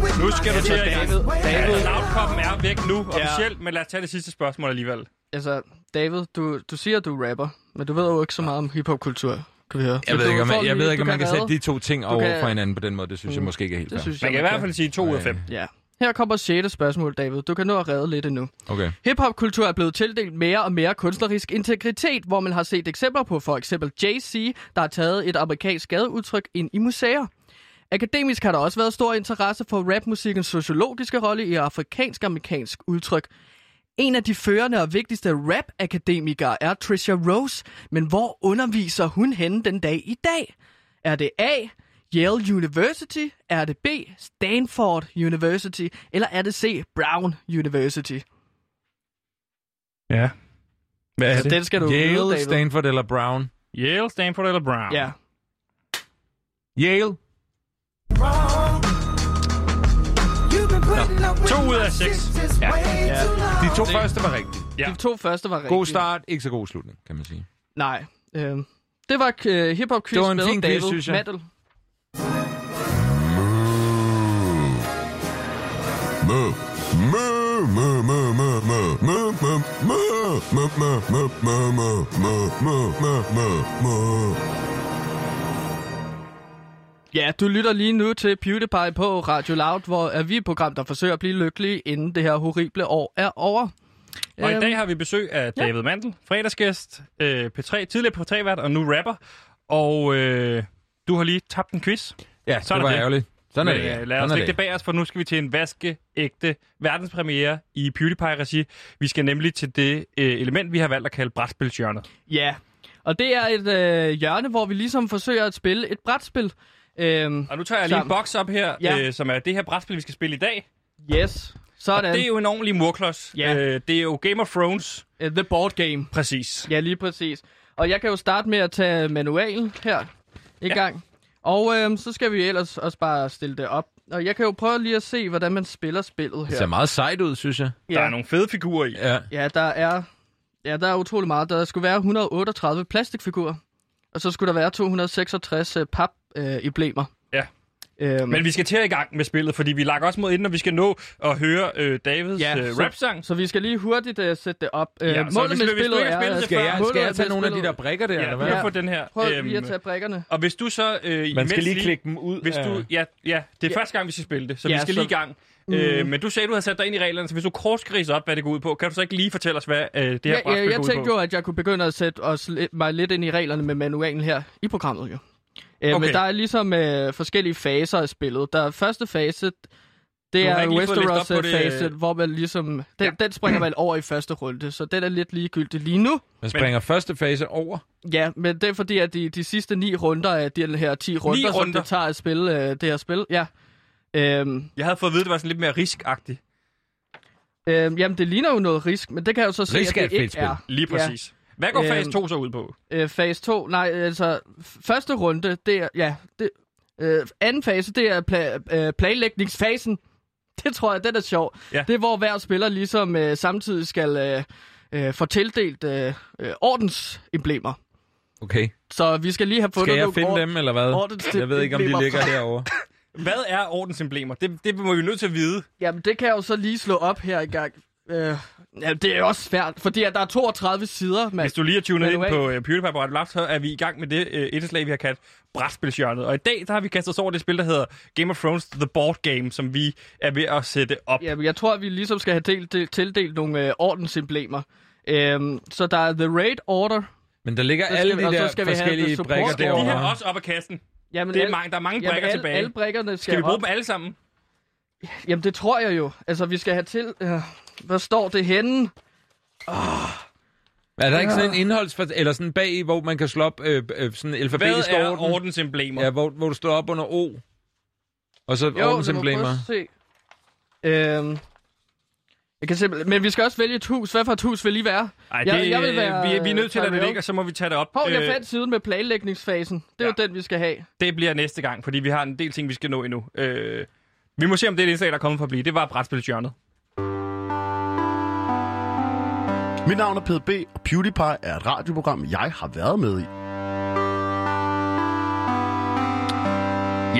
S1: 5. Nu skal du til
S2: Altså,
S1: at
S2: David-
S1: David.
S2: David-
S1: Loudkoppen er væk nu officielt, men lad os tage det sidste spørgsmål alligevel.
S2: Altså, David, du, du siger, du er rapper, men du ved jo ikke så meget om hiphopkultur, kan vi høre.
S3: Jeg
S2: Så
S3: ved
S2: du
S3: ikke, om
S2: får
S3: man, jeg
S2: lige-
S3: ved ikke,
S2: du
S3: om man kan sætte
S2: redde.
S3: de to ting
S2: Du
S3: over
S2: kan- Mm.
S3: for hinanden på den måde. Det synes jeg måske ikke er helt
S2: Det
S3: fair.
S2: synes jeg,
S1: Man kan i hvert fald sige 2 ud af 5.
S2: Ja. Her kommer 6. spørgsmål, David. Du kan nå at redde lidt endnu.
S3: Okay.
S2: Hip-hop-kultur er blevet tildelt mere og mere kunstnerisk integritet, hvor man har set eksempler på for eksempel Jay-Z, der har taget et amerikansk gadeudtryk ind i museer. Akademisk har der også været stor interesse for rapmusikkens sociologiske rolle i afrikansk-amerikansk udtryk. En af de førende og vigtigste rap-akademikere er Trisha Rose, men hvor underviser hun henne den dag i dag? Er det A. Yale University? Er det B. Stanford University? Eller er det C. Brown University?
S1: Ja. Hvad er
S2: Så Altså, den
S1: det?
S2: skal du vide,
S3: Yale,
S2: David.
S3: Stanford eller Brown?
S1: Yale, Stanford eller Brown?
S2: Ja.
S3: Yale.
S1: To ud af 6. Ja.
S2: Ja.
S3: De to første var rigtige.
S1: Ja.
S2: De to første var rigtige.
S3: God start, ikke så god slutning, kan man sige.
S2: Nej. Øh, det var øh, hiphop quiz
S3: Det var en
S2: med
S3: fin quiz,
S2: David
S3: synes jeg.
S2: Mandel. Ja, du lytter lige nu til PewDiePie på Radio Loud, hvor er vi et program, der forsøger at blive lykkelige, inden det her horrible år er over.
S1: Og i
S2: Øhm,
S1: dag har vi besøg af
S2: ja.
S1: David Mandel, fredagsgæst, øh, P3, tidligere P3-vært og nu rapper. Og øh, du har lige tabt en quiz.
S3: Ja,
S1: Sådan
S3: det
S1: er
S3: var
S1: det.
S3: ærgerligt. Sådan er
S1: Men,
S3: det.
S1: øh, Lad
S3: Sådan
S1: os
S3: er
S1: lægge
S3: det.
S1: det bag os, for nu skal vi til en vaskeægte verdenspremiere i PewDiePie-regi. Vi skal nemlig til det øh, element, vi har valgt at kalde brætspilsjørnet.
S2: Øhm, Ja, og det er et øh, hjørne, hvor vi ligesom forsøger at spille et brætspil. Øhm,
S1: Og nu tager jeg lige en
S2: sammen.
S1: boks op her,
S2: Ja.
S1: øh, som er det her brætspil, vi skal spille i dag.
S2: Yes,
S1: Og
S2: sådan.
S1: det er jo en ordentlig murklods.
S2: Ja.
S1: Øh, det er jo Game of Thrones.
S2: Øh, The board game.
S1: Præcis.
S2: Ja, lige præcis. Og jeg kan jo starte med at tage manualen her i
S1: Ja.
S2: ja. gang. Og øhm, så skal vi ellers også bare stille det op. Og jeg kan jo prøve lige at se, hvordan man spiller spillet
S3: Det
S2: her.
S3: ser meget sejt ud, synes jeg.
S1: Der er nogle fede figurer i.
S3: Ja.
S2: Ja, der er, ja, der er utrolig meget. Der skulle være 138 plastikfigurer, og så skulle der være 266 øh, pap-emblemer.
S1: Ja.
S2: Øhm,
S1: Men vi skal til i gang med spillet, fordi vi lakker også mod inden, og vi skal nå at høre øh, Davids
S2: Ja,
S1: øh,
S2: så-
S1: rapsang.
S2: Så vi skal lige hurtigt uh, sætte det op. Uh,
S1: Ja, så
S2: ja,
S1: hvis
S2: målet
S1: du-
S2: med
S1: hvis du
S2: spillet
S1: ikke har spillet
S2: er...
S1: det
S3: Skal jeg, skal jeg tage nogle af de der
S2: spillet-
S3: brikker der,
S1: Ja,
S3: eller
S1: vi
S3: hvad?
S1: kan få den her.
S2: Prøv
S1: Øhm,
S2: lige at tage brikkerne.
S1: Og hvis du så... Øh,
S3: Man skal
S1: imens
S3: lige klikke dem ud.
S1: Hvis du, ja, ja, det er ja. første gang, vi skal spille det, så ja, vi
S2: Øh. Ja,
S1: skal
S2: så-
S1: lige i gang. Mm. Øh, men du sagde, du havde sat dig ind i reglerne, så hvis du kortskriser op, hvad det går ud på, kan du så ikke lige fortælle os, hvad øh, det her
S2: Ja,
S1: brætspil
S2: ja, jeg
S1: går ud
S2: tænkte
S1: på?
S2: jo, at jeg kunne begynde at sætte os, lidt- mig lidt ind i reglerne med manualen her i programmet jo. Uh,
S1: Okay.
S2: Men der er ligesom uh, forskellige faser af spillet. Der er første fase, det
S1: Du har
S2: er
S1: ikke lige fået læst op på det, øh.
S2: Westeros-fase, hvor man ligesom... Den, ja. den springer man over i første runde, så den er lidt ligegyldig lige nu.
S3: Man springer første fase over.
S2: Ja, men det er fordi, at de, de sidste ni runder af de her ti runder, som
S1: runder.
S2: det tager at spille øh, det her spil, ja. Øhm,
S1: Jeg havde fået at vide, at det var sådan lidt mere riskagtigt.
S2: Øhm, jamen, det ligner jo noget risk, men det kan jeg jo så se,
S3: Risk
S2: at
S3: er et
S2: det
S3: fedt
S2: ikke
S3: spil.
S2: er.
S1: Lige præcis. Ja. Hvad går
S2: Øhm,
S1: fase 2 så ud på?
S2: Ja. Øh, fase 2, nej, altså, f- første runde, det er, ja, det, øh, anden fase, det er pla- øh, planlægningsfasen. Det tror jeg, den er sjov.
S1: Ja.
S2: Det er, hvor hver spiller ligesom øh, samtidig skal øh, øh, få tildelt øh, øh, ordensemblemer.
S3: Okay.
S2: Så vi skal lige have fundet
S3: Skal jeg
S2: nogle
S3: finde
S2: ord-
S3: dem, eller hvad?
S2: ordens-
S3: Jeg ved ikke, om de
S2: emblemer
S3: ligger
S2: fra-
S3: herovre.
S1: Hvad er ordensemblemer? Det, det må vi nødt til at vide.
S2: Jamen, det kan jeg jo så lige slå op her i gang. Øh, jamen, det er jo også svært, fordi at der er 32 sider, mand.
S1: Hvis du lige har tunet
S2: Men
S1: ind
S2: Altså, du er-
S1: på uh, PewDiePie på Radio Loud, så er vi i gang med det uh, etterslag, vi har kaldt brætspilsjørnet. Og i dag der har vi kastet os over det spil, der hedder Game of Thrones The Board Game, som vi er ved at sætte op.
S2: Ja, men jeg tror, at vi ligesom skal have delt, del, tildelt nogle øh, ordensemblemer. Øhm, så der er The Raid Order.
S3: Men der ligger
S2: Så skal
S3: alle
S2: vi-
S3: de
S2: og så
S3: der
S2: skal vi have
S3: forskellige
S2: the support.
S3: brikker
S2: Skal de
S1: De her
S3: derovre.
S1: også op af kassen.
S2: Jamen,
S1: Det er
S2: alle-
S1: mange, der er mange
S2: jamen,
S1: brikker
S2: alle,
S1: tilbage.
S2: Alle brikkerne skal,
S1: Skal vi bruge
S2: op.
S1: dem alle sammen?
S2: Jamen, det tror jeg jo. Altså, vi skal have til... Øh, hvor står det henne? Oh.
S3: Er der ikke sådan en indholds... Eller sådan bag, hvor man kan slå op øh, øh, sådan alfabetisk
S1: Hvad er
S3: orden?
S1: ordensemblemer?
S3: Ja, hvor, hvor du står op under O. Og så
S2: Jo, lad mig prøve
S3: ordensemblemer.
S2: at se. Øhm, jeg kan simpelthen... Men vi skal også vælge et hus. Hvad for et hus vil I være?
S1: Ej, det, jeg, jeg vil være, vi, vi er nødt til at lade det ligge, og så må vi tage det op.
S2: Hov,
S1: Øh,
S2: jeg fandt siden med planlægningsfasen. Det er jo den, vi skal have.
S1: Det bliver næste gang, fordi vi har en del ting, vi skal nå endnu. Øh, vi må se, om det er det indslag, der er kommet for at blive. Det var brætspilsjørnet.
S13: Mit navn er PDB, og PewDiePie er et radioprogram, jeg har været med i.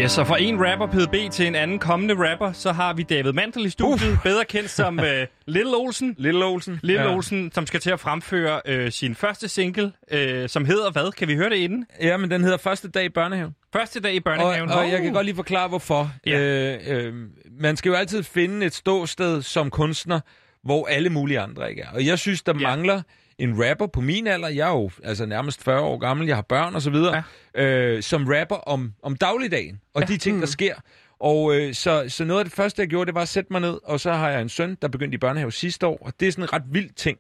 S1: Ja, så fra en rapper PDB til en anden kommende rapper, så har vi David Mandel i studiet, uh. bedre kendt som uh, Little Olsen.
S3: Little Olsen.
S1: Little
S3: Ja.
S1: Olsen, som skal til at fremføre øh, sin første single, øh, som hedder hvad? Kan vi høre det inden?
S3: Ja, men den hedder Første dag i børnehaven.
S1: Første dag i børnehaven.
S3: Og, og jeg kan godt lige forklare, hvorfor. Ja. Øh, øh, man skal jo altid finde et ståsted som kunstner, hvor alle mulige andre ikke er. Og jeg synes, der ja. mangler en rapper på min alder. Jeg er jo altså, nærmest 40 år gammel, jeg har børn og så videre, ja. øh, som rapper om, om dagligdagen og ja. Mm. de ting, der sker. Og øh, så, så noget af det første, jeg gjorde, det var at sætte mig ned, og så har jeg en søn, der begyndte i børnehave sidste år, og det er sådan en ret vild ting.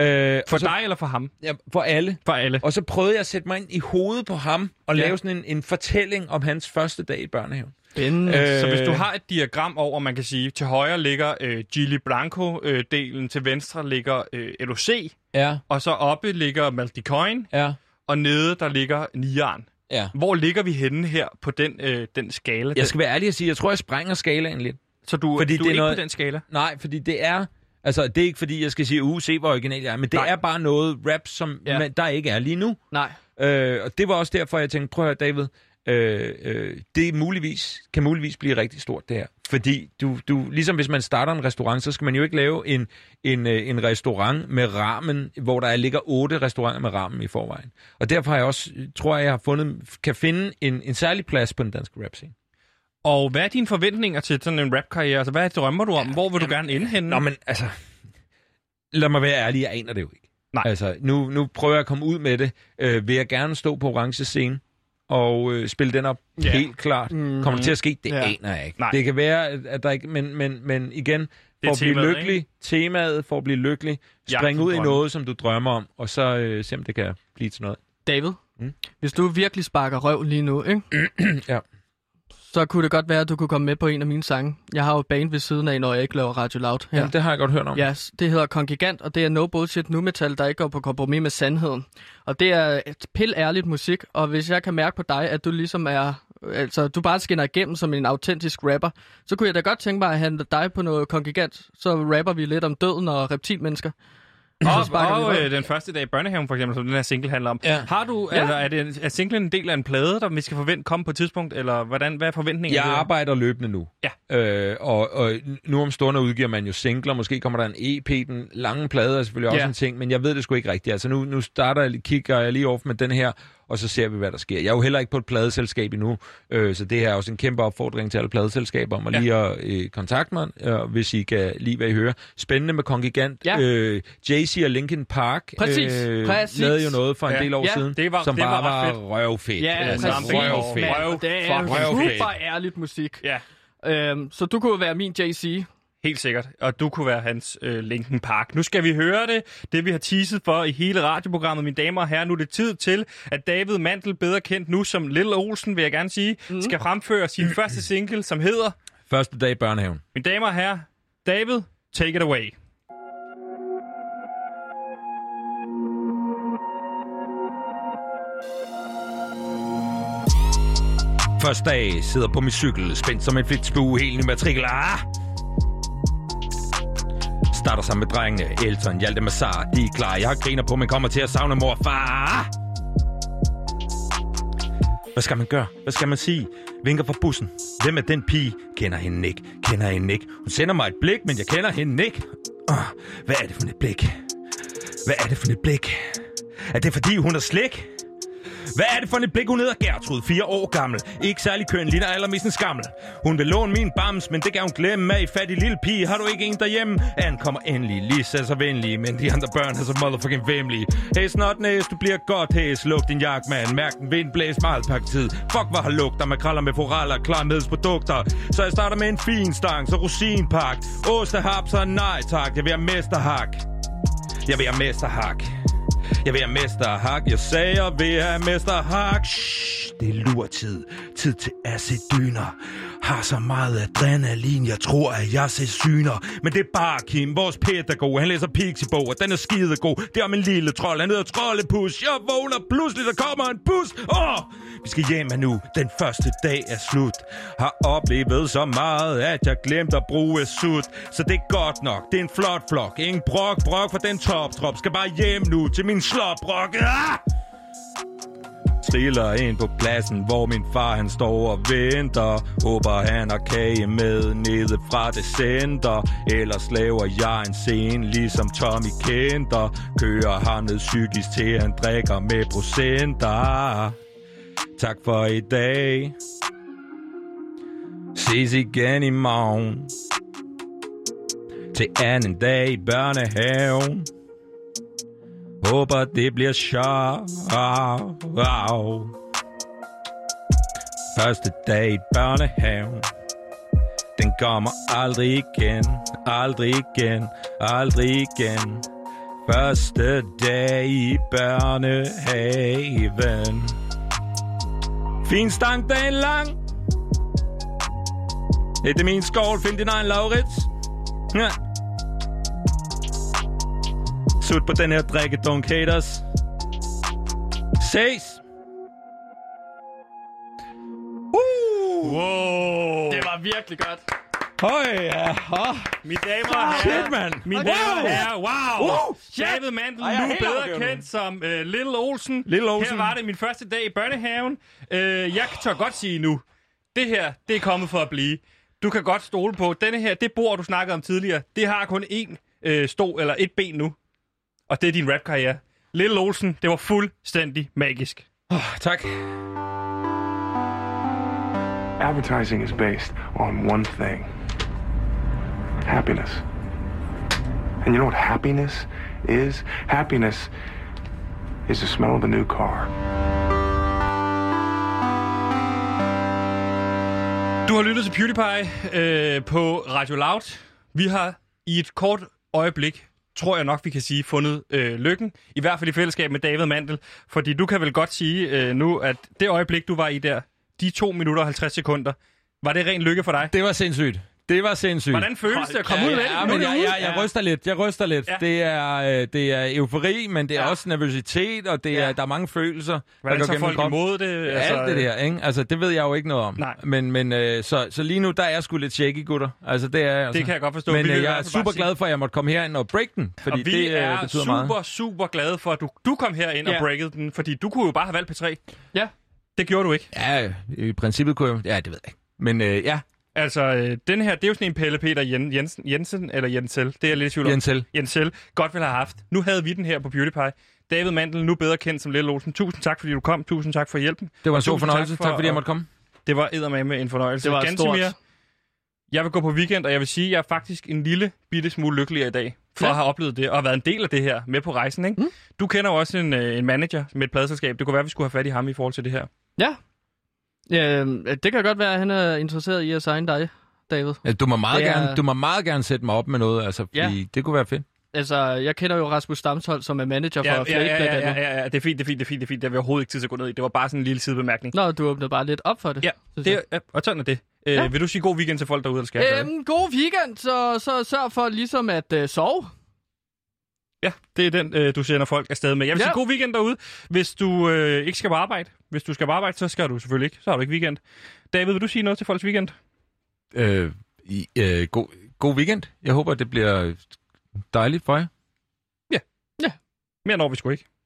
S3: Øh,
S1: For dig eller for ham?
S3: Ja, for alle.
S1: For alle.
S3: Og så prøvede jeg at sætte mig ind i hovedet på ham og
S1: Ja.
S3: ja. lave sådan en, en fortælling om hans første dag i børnehaven.
S2: Øh,
S1: Så hvis
S3: Øh.
S1: du har et diagram over, man kan sige, til højre ligger øh, Gili Blanco-delen, til venstre ligger øh, LOC,
S3: Ja.
S1: og så oppe ligger Maldikoin,
S3: ja.
S1: og nede der ligger Nian.
S3: Ja.
S1: Hvor ligger vi henne her på den, øh, den skala?
S3: Jeg skal være ærlig og sige, jeg tror, jeg sprænger skalaen lidt.
S1: Så du, du er ikke på den skala?
S3: Nej, fordi det er... Altså, det er ikke, fordi jeg skal sige, uh, se, hvor original jeg er, men det Nej. er bare noget rap, som
S2: Ja.
S3: ja. man, der ikke er lige nu.
S2: Nej.
S3: Øh, og det var også derfor, jeg tænkte, prøv at høre, David, øh, øh, det er muligvis, kan muligvis blive rigtig stort, det her. Fordi du, du, ligesom hvis man starter en restaurant, så skal man jo ikke lave en, en, øh, en restaurant med ramen, hvor der er- ligger otte restauranter med ramen i forvejen. Og derfor har jeg også, tror jeg, jeg har fundet, kan finde en, en særlig plads på den danske rap scene.
S1: Og hvad er dine forventninger til sådan en rapkarriere? Altså, hvad drømmer du om? Hvor vil du gerne ende henne? Nå,
S3: men altså... lad mig være ærlig, jeg aner det jo ikke.
S1: Nej.
S3: Altså, nu, nu prøver jeg at komme ud med det. Øh, vil jeg gerne stå på orange scene og øh, spille den op?
S1: Ja.
S3: Ja. Helt klart.
S1: Mhm.
S3: Mm. Kommer det til at ske? Det
S1: Ja.
S3: ja. aner jeg ikke.
S1: Nej.
S3: Det kan være, at- at der ikke... Men, men, men igen, for at blive
S1: temaet,
S3: lykkelig,
S1: ikke?
S3: temaet for at blive lykkelig,
S1: Jagten
S3: spring
S1: på
S3: ud i
S1: drømmen.
S3: noget, som du drømmer om, og så øh, se, om det kan blive til noget.
S2: David, mm? hvis du virkelig sparker røv lige nu, ikke?
S3: ja.
S2: så kunne det godt være, at du kunne komme med på en af mine sange. Jeg har jo et band ved siden af, når jeg ikke laver Radio Loud. Her.
S3: Jamen, det har jeg godt hørt om.
S2: Ja, yes, det hedder Kongigant, og det er no bullshit nu metal, der ikke går på kompromis med sandheden. Og det er et pil ærligt musik, og hvis jeg kan mærke på dig, at du ligesom er altså du bare skinner igennem som en autentisk rapper, så kunne jeg da godt tænke mig at handle dig på noget kongigant, så rapper vi lidt om døden og reptilmennesker.
S1: Og,
S2: sparker vi
S1: og
S2: røv.
S1: øh, den første dag i børnehaven, for eksempel, som den her single handler om.
S3: Ja.
S1: Har du,
S3: Ja.
S1: altså, er, det en, er singlen en del af en plade, der vi skal forvente komme på et tidspunkt? Eller hvordan, hvad er forventningen?
S3: Jeg arbejder løbende nu. Ja. Øh, og, og nu om stunder udgiver man jo singler. Måske kommer der en EP, den lange plade er selvfølgelig også
S1: Ja.
S3: en ting, men jeg ved det sgu ikke rigtigt. Altså nu, nu starter jeg, kigger jeg lige over med den her, og så ser vi, hvad der sker. Jeg er jo heller ikke på et pladeselskab endnu, øh, så det her er også en kæmpe opfordring til alle pladeselskaber om at
S1: Ja.
S3: lige at øh, kontakte mig, øh, hvis I kan lide, hvad I hører. Spændende med Kongigant.
S1: Ja.
S3: Øh, Jay-Z og Linkin Park øh,
S1: Præcis, præcis.
S3: lavede jo noget for en
S1: Ja.
S3: del år
S1: Ja,
S3: siden,
S1: det var-
S3: som
S1: det var
S3: bare
S1: ret
S3: var,
S1: fedt.
S3: røvfedt.
S2: Ja,
S3: Altså,
S2: præcis.
S3: røvfedt.
S2: Røv, det er
S3: Fuck,
S2: super ærligt musik.
S1: Ja.
S2: Øhm, så du kunne være min JC.
S1: Helt sikkert. Og du kunne være hans øh, Linkin Park. Nu skal vi høre det. Det vi har teaset for i hele radioprogrammet, mine damer og herrer. Nu er det tid til, at David Mandel, bedre kendt nu som Lille Olsen, vil jeg gerne sige, mm. skal fremføre sin første single, som hedder...
S3: Første dag i børnehaven.
S1: Mine damer og herrer, David, take it away.
S3: Første dag sidder på min cykel, spændt som en fedt spue, helt ny matrikel. Ah! Starter sammen med drengene, Elton, Hjalte Massar, de er klar. Jeg har griner på, men kommer til at savne mor og far. Ah! Hvad skal man gøre? Hvad skal man sige? Vinker fra bussen. Hvem er den pige? Kender hende ikke. Kender hende ikke. Hun sender mig et blik, men jeg kender hende ikke. Oh, hvad er det for et blik? Hvad er det for et blik? Er det fordi, hun er slik? Hvad er det for et blik, hun hedder Gertrud, fire år gammel. Ikke særlig køn, ligner allermest en skammel. Hun vil låne min bams, men det kan hun glemme af. Fattig lille pige, har du ikke en derhjemme? Ann kommer endelig, Lisa er så venlig, men de andre børn er så motherfucking vemmelige. Hey snot næs, du bliver godt hæs. Luk din jakke, mand. Mærk den vind, blæs meget pakket tid. Fuck, hvor har lugter, makraller med foraller, klar medsprodukter. Så jeg starter med en fin stang, så rosinpak. Ostehap, så nej tak, jeg vil have mesterhak. Jeg vil have mesterhak. Jeg vil have Mester Hak, jeg sagde, jeg vil have Mester Hak. Shh, det er lurtid. Tid til acidyner. Har så meget adrenalin, jeg tror, at jeg ser syner. Men det er bare Kim, vores pædagog. Han læser Pixie-bog, og den er skidegod. Det er om en lille trold, han hedder Troldepus. Jeg vågner pludselig, der kommer en bus. Åh, vi skal hjem nu. Den første dag er slut. Har oplevet så meget, at jeg glemte at bruge sut. Så det er godt nok. Det er en flot flok. Ingen brok, brok for den top-trop. Skal bare hjem nu til min slåbrok. Ah! Stiller ind på pladsen, hvor min far han står og venter Håber han har kage med nede fra det center Ellers laver jeg en scene, ligesom Tommy Kenter Kører ham ned psykisk til han drikker med procenter Tak for i dag Ses igen i morgen Til anden dag i børnehaven Håber det bliver sjovt. Første dag i børnehaven. Den kommer aldrig igen, aldrig igen, aldrig igen. Første dag i børnehaven. Fin stang dagen lang. Det er min skål, find din egen Laurits. Ja. Sut på den her drikke, don't haters. Ses! Uh!
S1: Wow.
S2: Det var virkelig godt.
S3: Høj, ja. Oh.
S1: Mine damer og herrer.
S3: Shit, mand.
S1: Mine
S3: Wow.
S1: damer og herrer. Wow.
S3: Wow.
S1: Shit. David Mandel,
S3: Ej, jeg er
S1: nu
S3: helt
S1: bedre
S3: afgørende.
S1: kendt som uh, Little Olsen.
S3: Little Olsen.
S1: Her var det min første dag i børnehaven. Uh, jeg tør godt sige nu, det her, det er kommet for at blive. Du kan godt stole på. Denne her, det bord, du snakkede om tidligere, det har kun én uh, stå, eller et ben nu. Og det er din rapkarriere. Little Olsen, det var fuldstændig magisk.
S3: Ah, Tak.
S14: Advertising is based on one thing happiness. And you know what happiness is? Happiness is the smell of a new car.
S1: Du har lyttet til PewDiePie øh, på Radio Loud. Vi har i et kort øjeblik, tror jeg nok, vi kan sige, fundet øh, lykken. I hvert fald i fællesskab med David Mandel. Fordi du kan vel godt sige øh, nu, at det øjeblik, du var i der, de 2 minutter og 50 sekunder, var det ren lykke for dig?
S3: Det var sindssygt. Det var sindssygt.
S1: Hvordan føles det at komme
S3: ja,
S1: ud af
S3: ja,
S1: det? Nu er
S3: men
S1: det
S3: jeg,
S1: ude.
S3: jeg, jeg ryster lidt, jeg ryster lidt.
S1: Ja.
S3: Ja. Det, er, øh, det er eufori, men det er ja. også nervøsitet, og det er, ja. der er mange følelser. der
S1: Hvordan
S3: går
S1: tager
S3: gennem
S1: folk
S3: kroppen.
S1: imod det?
S3: Ja,
S1: Altså,
S3: altså, alt det der, ikke? Altså, det ved jeg jo ikke noget om.
S1: Nej.
S3: Men, men øh, så, så lige nu, der er jeg sgu lidt shaky, gutter. Altså, det er jeg, altså.
S1: Det kan jeg godt forstå.
S3: Men
S1: Vi vil
S3: øh,
S1: i
S3: jeg er
S1: hvert fald bare
S3: super glad for, at jeg måtte komme herind og break den, fordi
S1: og vi
S3: det
S1: er
S3: øh, betyder
S1: super,
S3: meget.
S1: super glade for, at du, du kom herind
S3: Ja.
S1: og breakede den, fordi du kunne jo bare have valgt P3.
S2: Ja.
S1: Det gjorde du ikke.
S3: Ja, i princippet kunne jeg... Ja, det ved jeg ikke. Men øh, ja,
S1: Altså, øh, den her, det er jo sådan en Pelle Peter Jen, Jensen, Jensen, eller Jensel, det er jeg lidt i tvivl om.
S3: Jensel.
S1: Jensel, godt ville have haft. Nu havde vi den her på Beauty Pie. David Mandel, nu bedre kendt som Lille Olsen. Tusind tak, fordi du kom. Tusind tak for hjælpen.
S3: det var en
S1: Og
S3: stor
S1: tusind
S3: fornøjelse. Tak, fordi jeg måtte komme.
S1: Det var eddermame en fornøjelse.
S2: Det var
S1: Gansimir,
S2: stort.
S1: Jeg vil gå på weekend, og jeg vil sige, at jeg er faktisk en lille bitte smule lykkeligere i dag, for ja.
S2: Ja.
S1: at have oplevet det, og have været en del af det her med på rejsen. Ikke? Mm. Du kender jo også en, øh, en manager med et pladeselskab. Det kunne være, at vi skulle have fat i ham i forhold til det her.
S2: Ja. Øhm, det kan godt være, at han er interesseret i at signe dig, David.
S3: Altså, du, må meget
S2: Det er-
S3: gerne, du må meget gerne sætte mig op med noget, altså, fordi
S2: Ja.
S3: det kunne være fedt.
S2: Altså, jeg kender jo Rasmus Stamshold, som er manager for
S1: Ja, ja,
S2: Flake
S1: ja,
S2: blandt
S1: ja,
S2: andet.
S1: ja, ja, det er fint, det er fint, det er fint, det er fint. Det har vi overhovedet ikke tid til at gå ned i. Det var bare sådan en lille sidebemærkning.
S2: Nå, du åbner bare lidt op for det.
S1: Ja, det, ja, og sådan er det. Øh, ja.
S2: Ja.
S1: Vil du sige god weekend til folk derude, eller skal jeg gøre det?
S2: Øhm, god weekend, så, så sørg for ligesom at øh, sove.
S1: Ja, det er den, øh, du sender folk afsted med. Jeg vil ja.
S2: Ja.
S1: sige god weekend derude, hvis du øh, ikke skal på arbejde. Hvis du skal på arbejde, så skal du selvfølgelig ikke. Så har du ikke weekend. David, vil du sige noget til folks weekend?
S3: øh, i, øh, god, god weekend. Jeg håber, det bliver dejligt for jer.
S1: Mere når vi sgu ikke.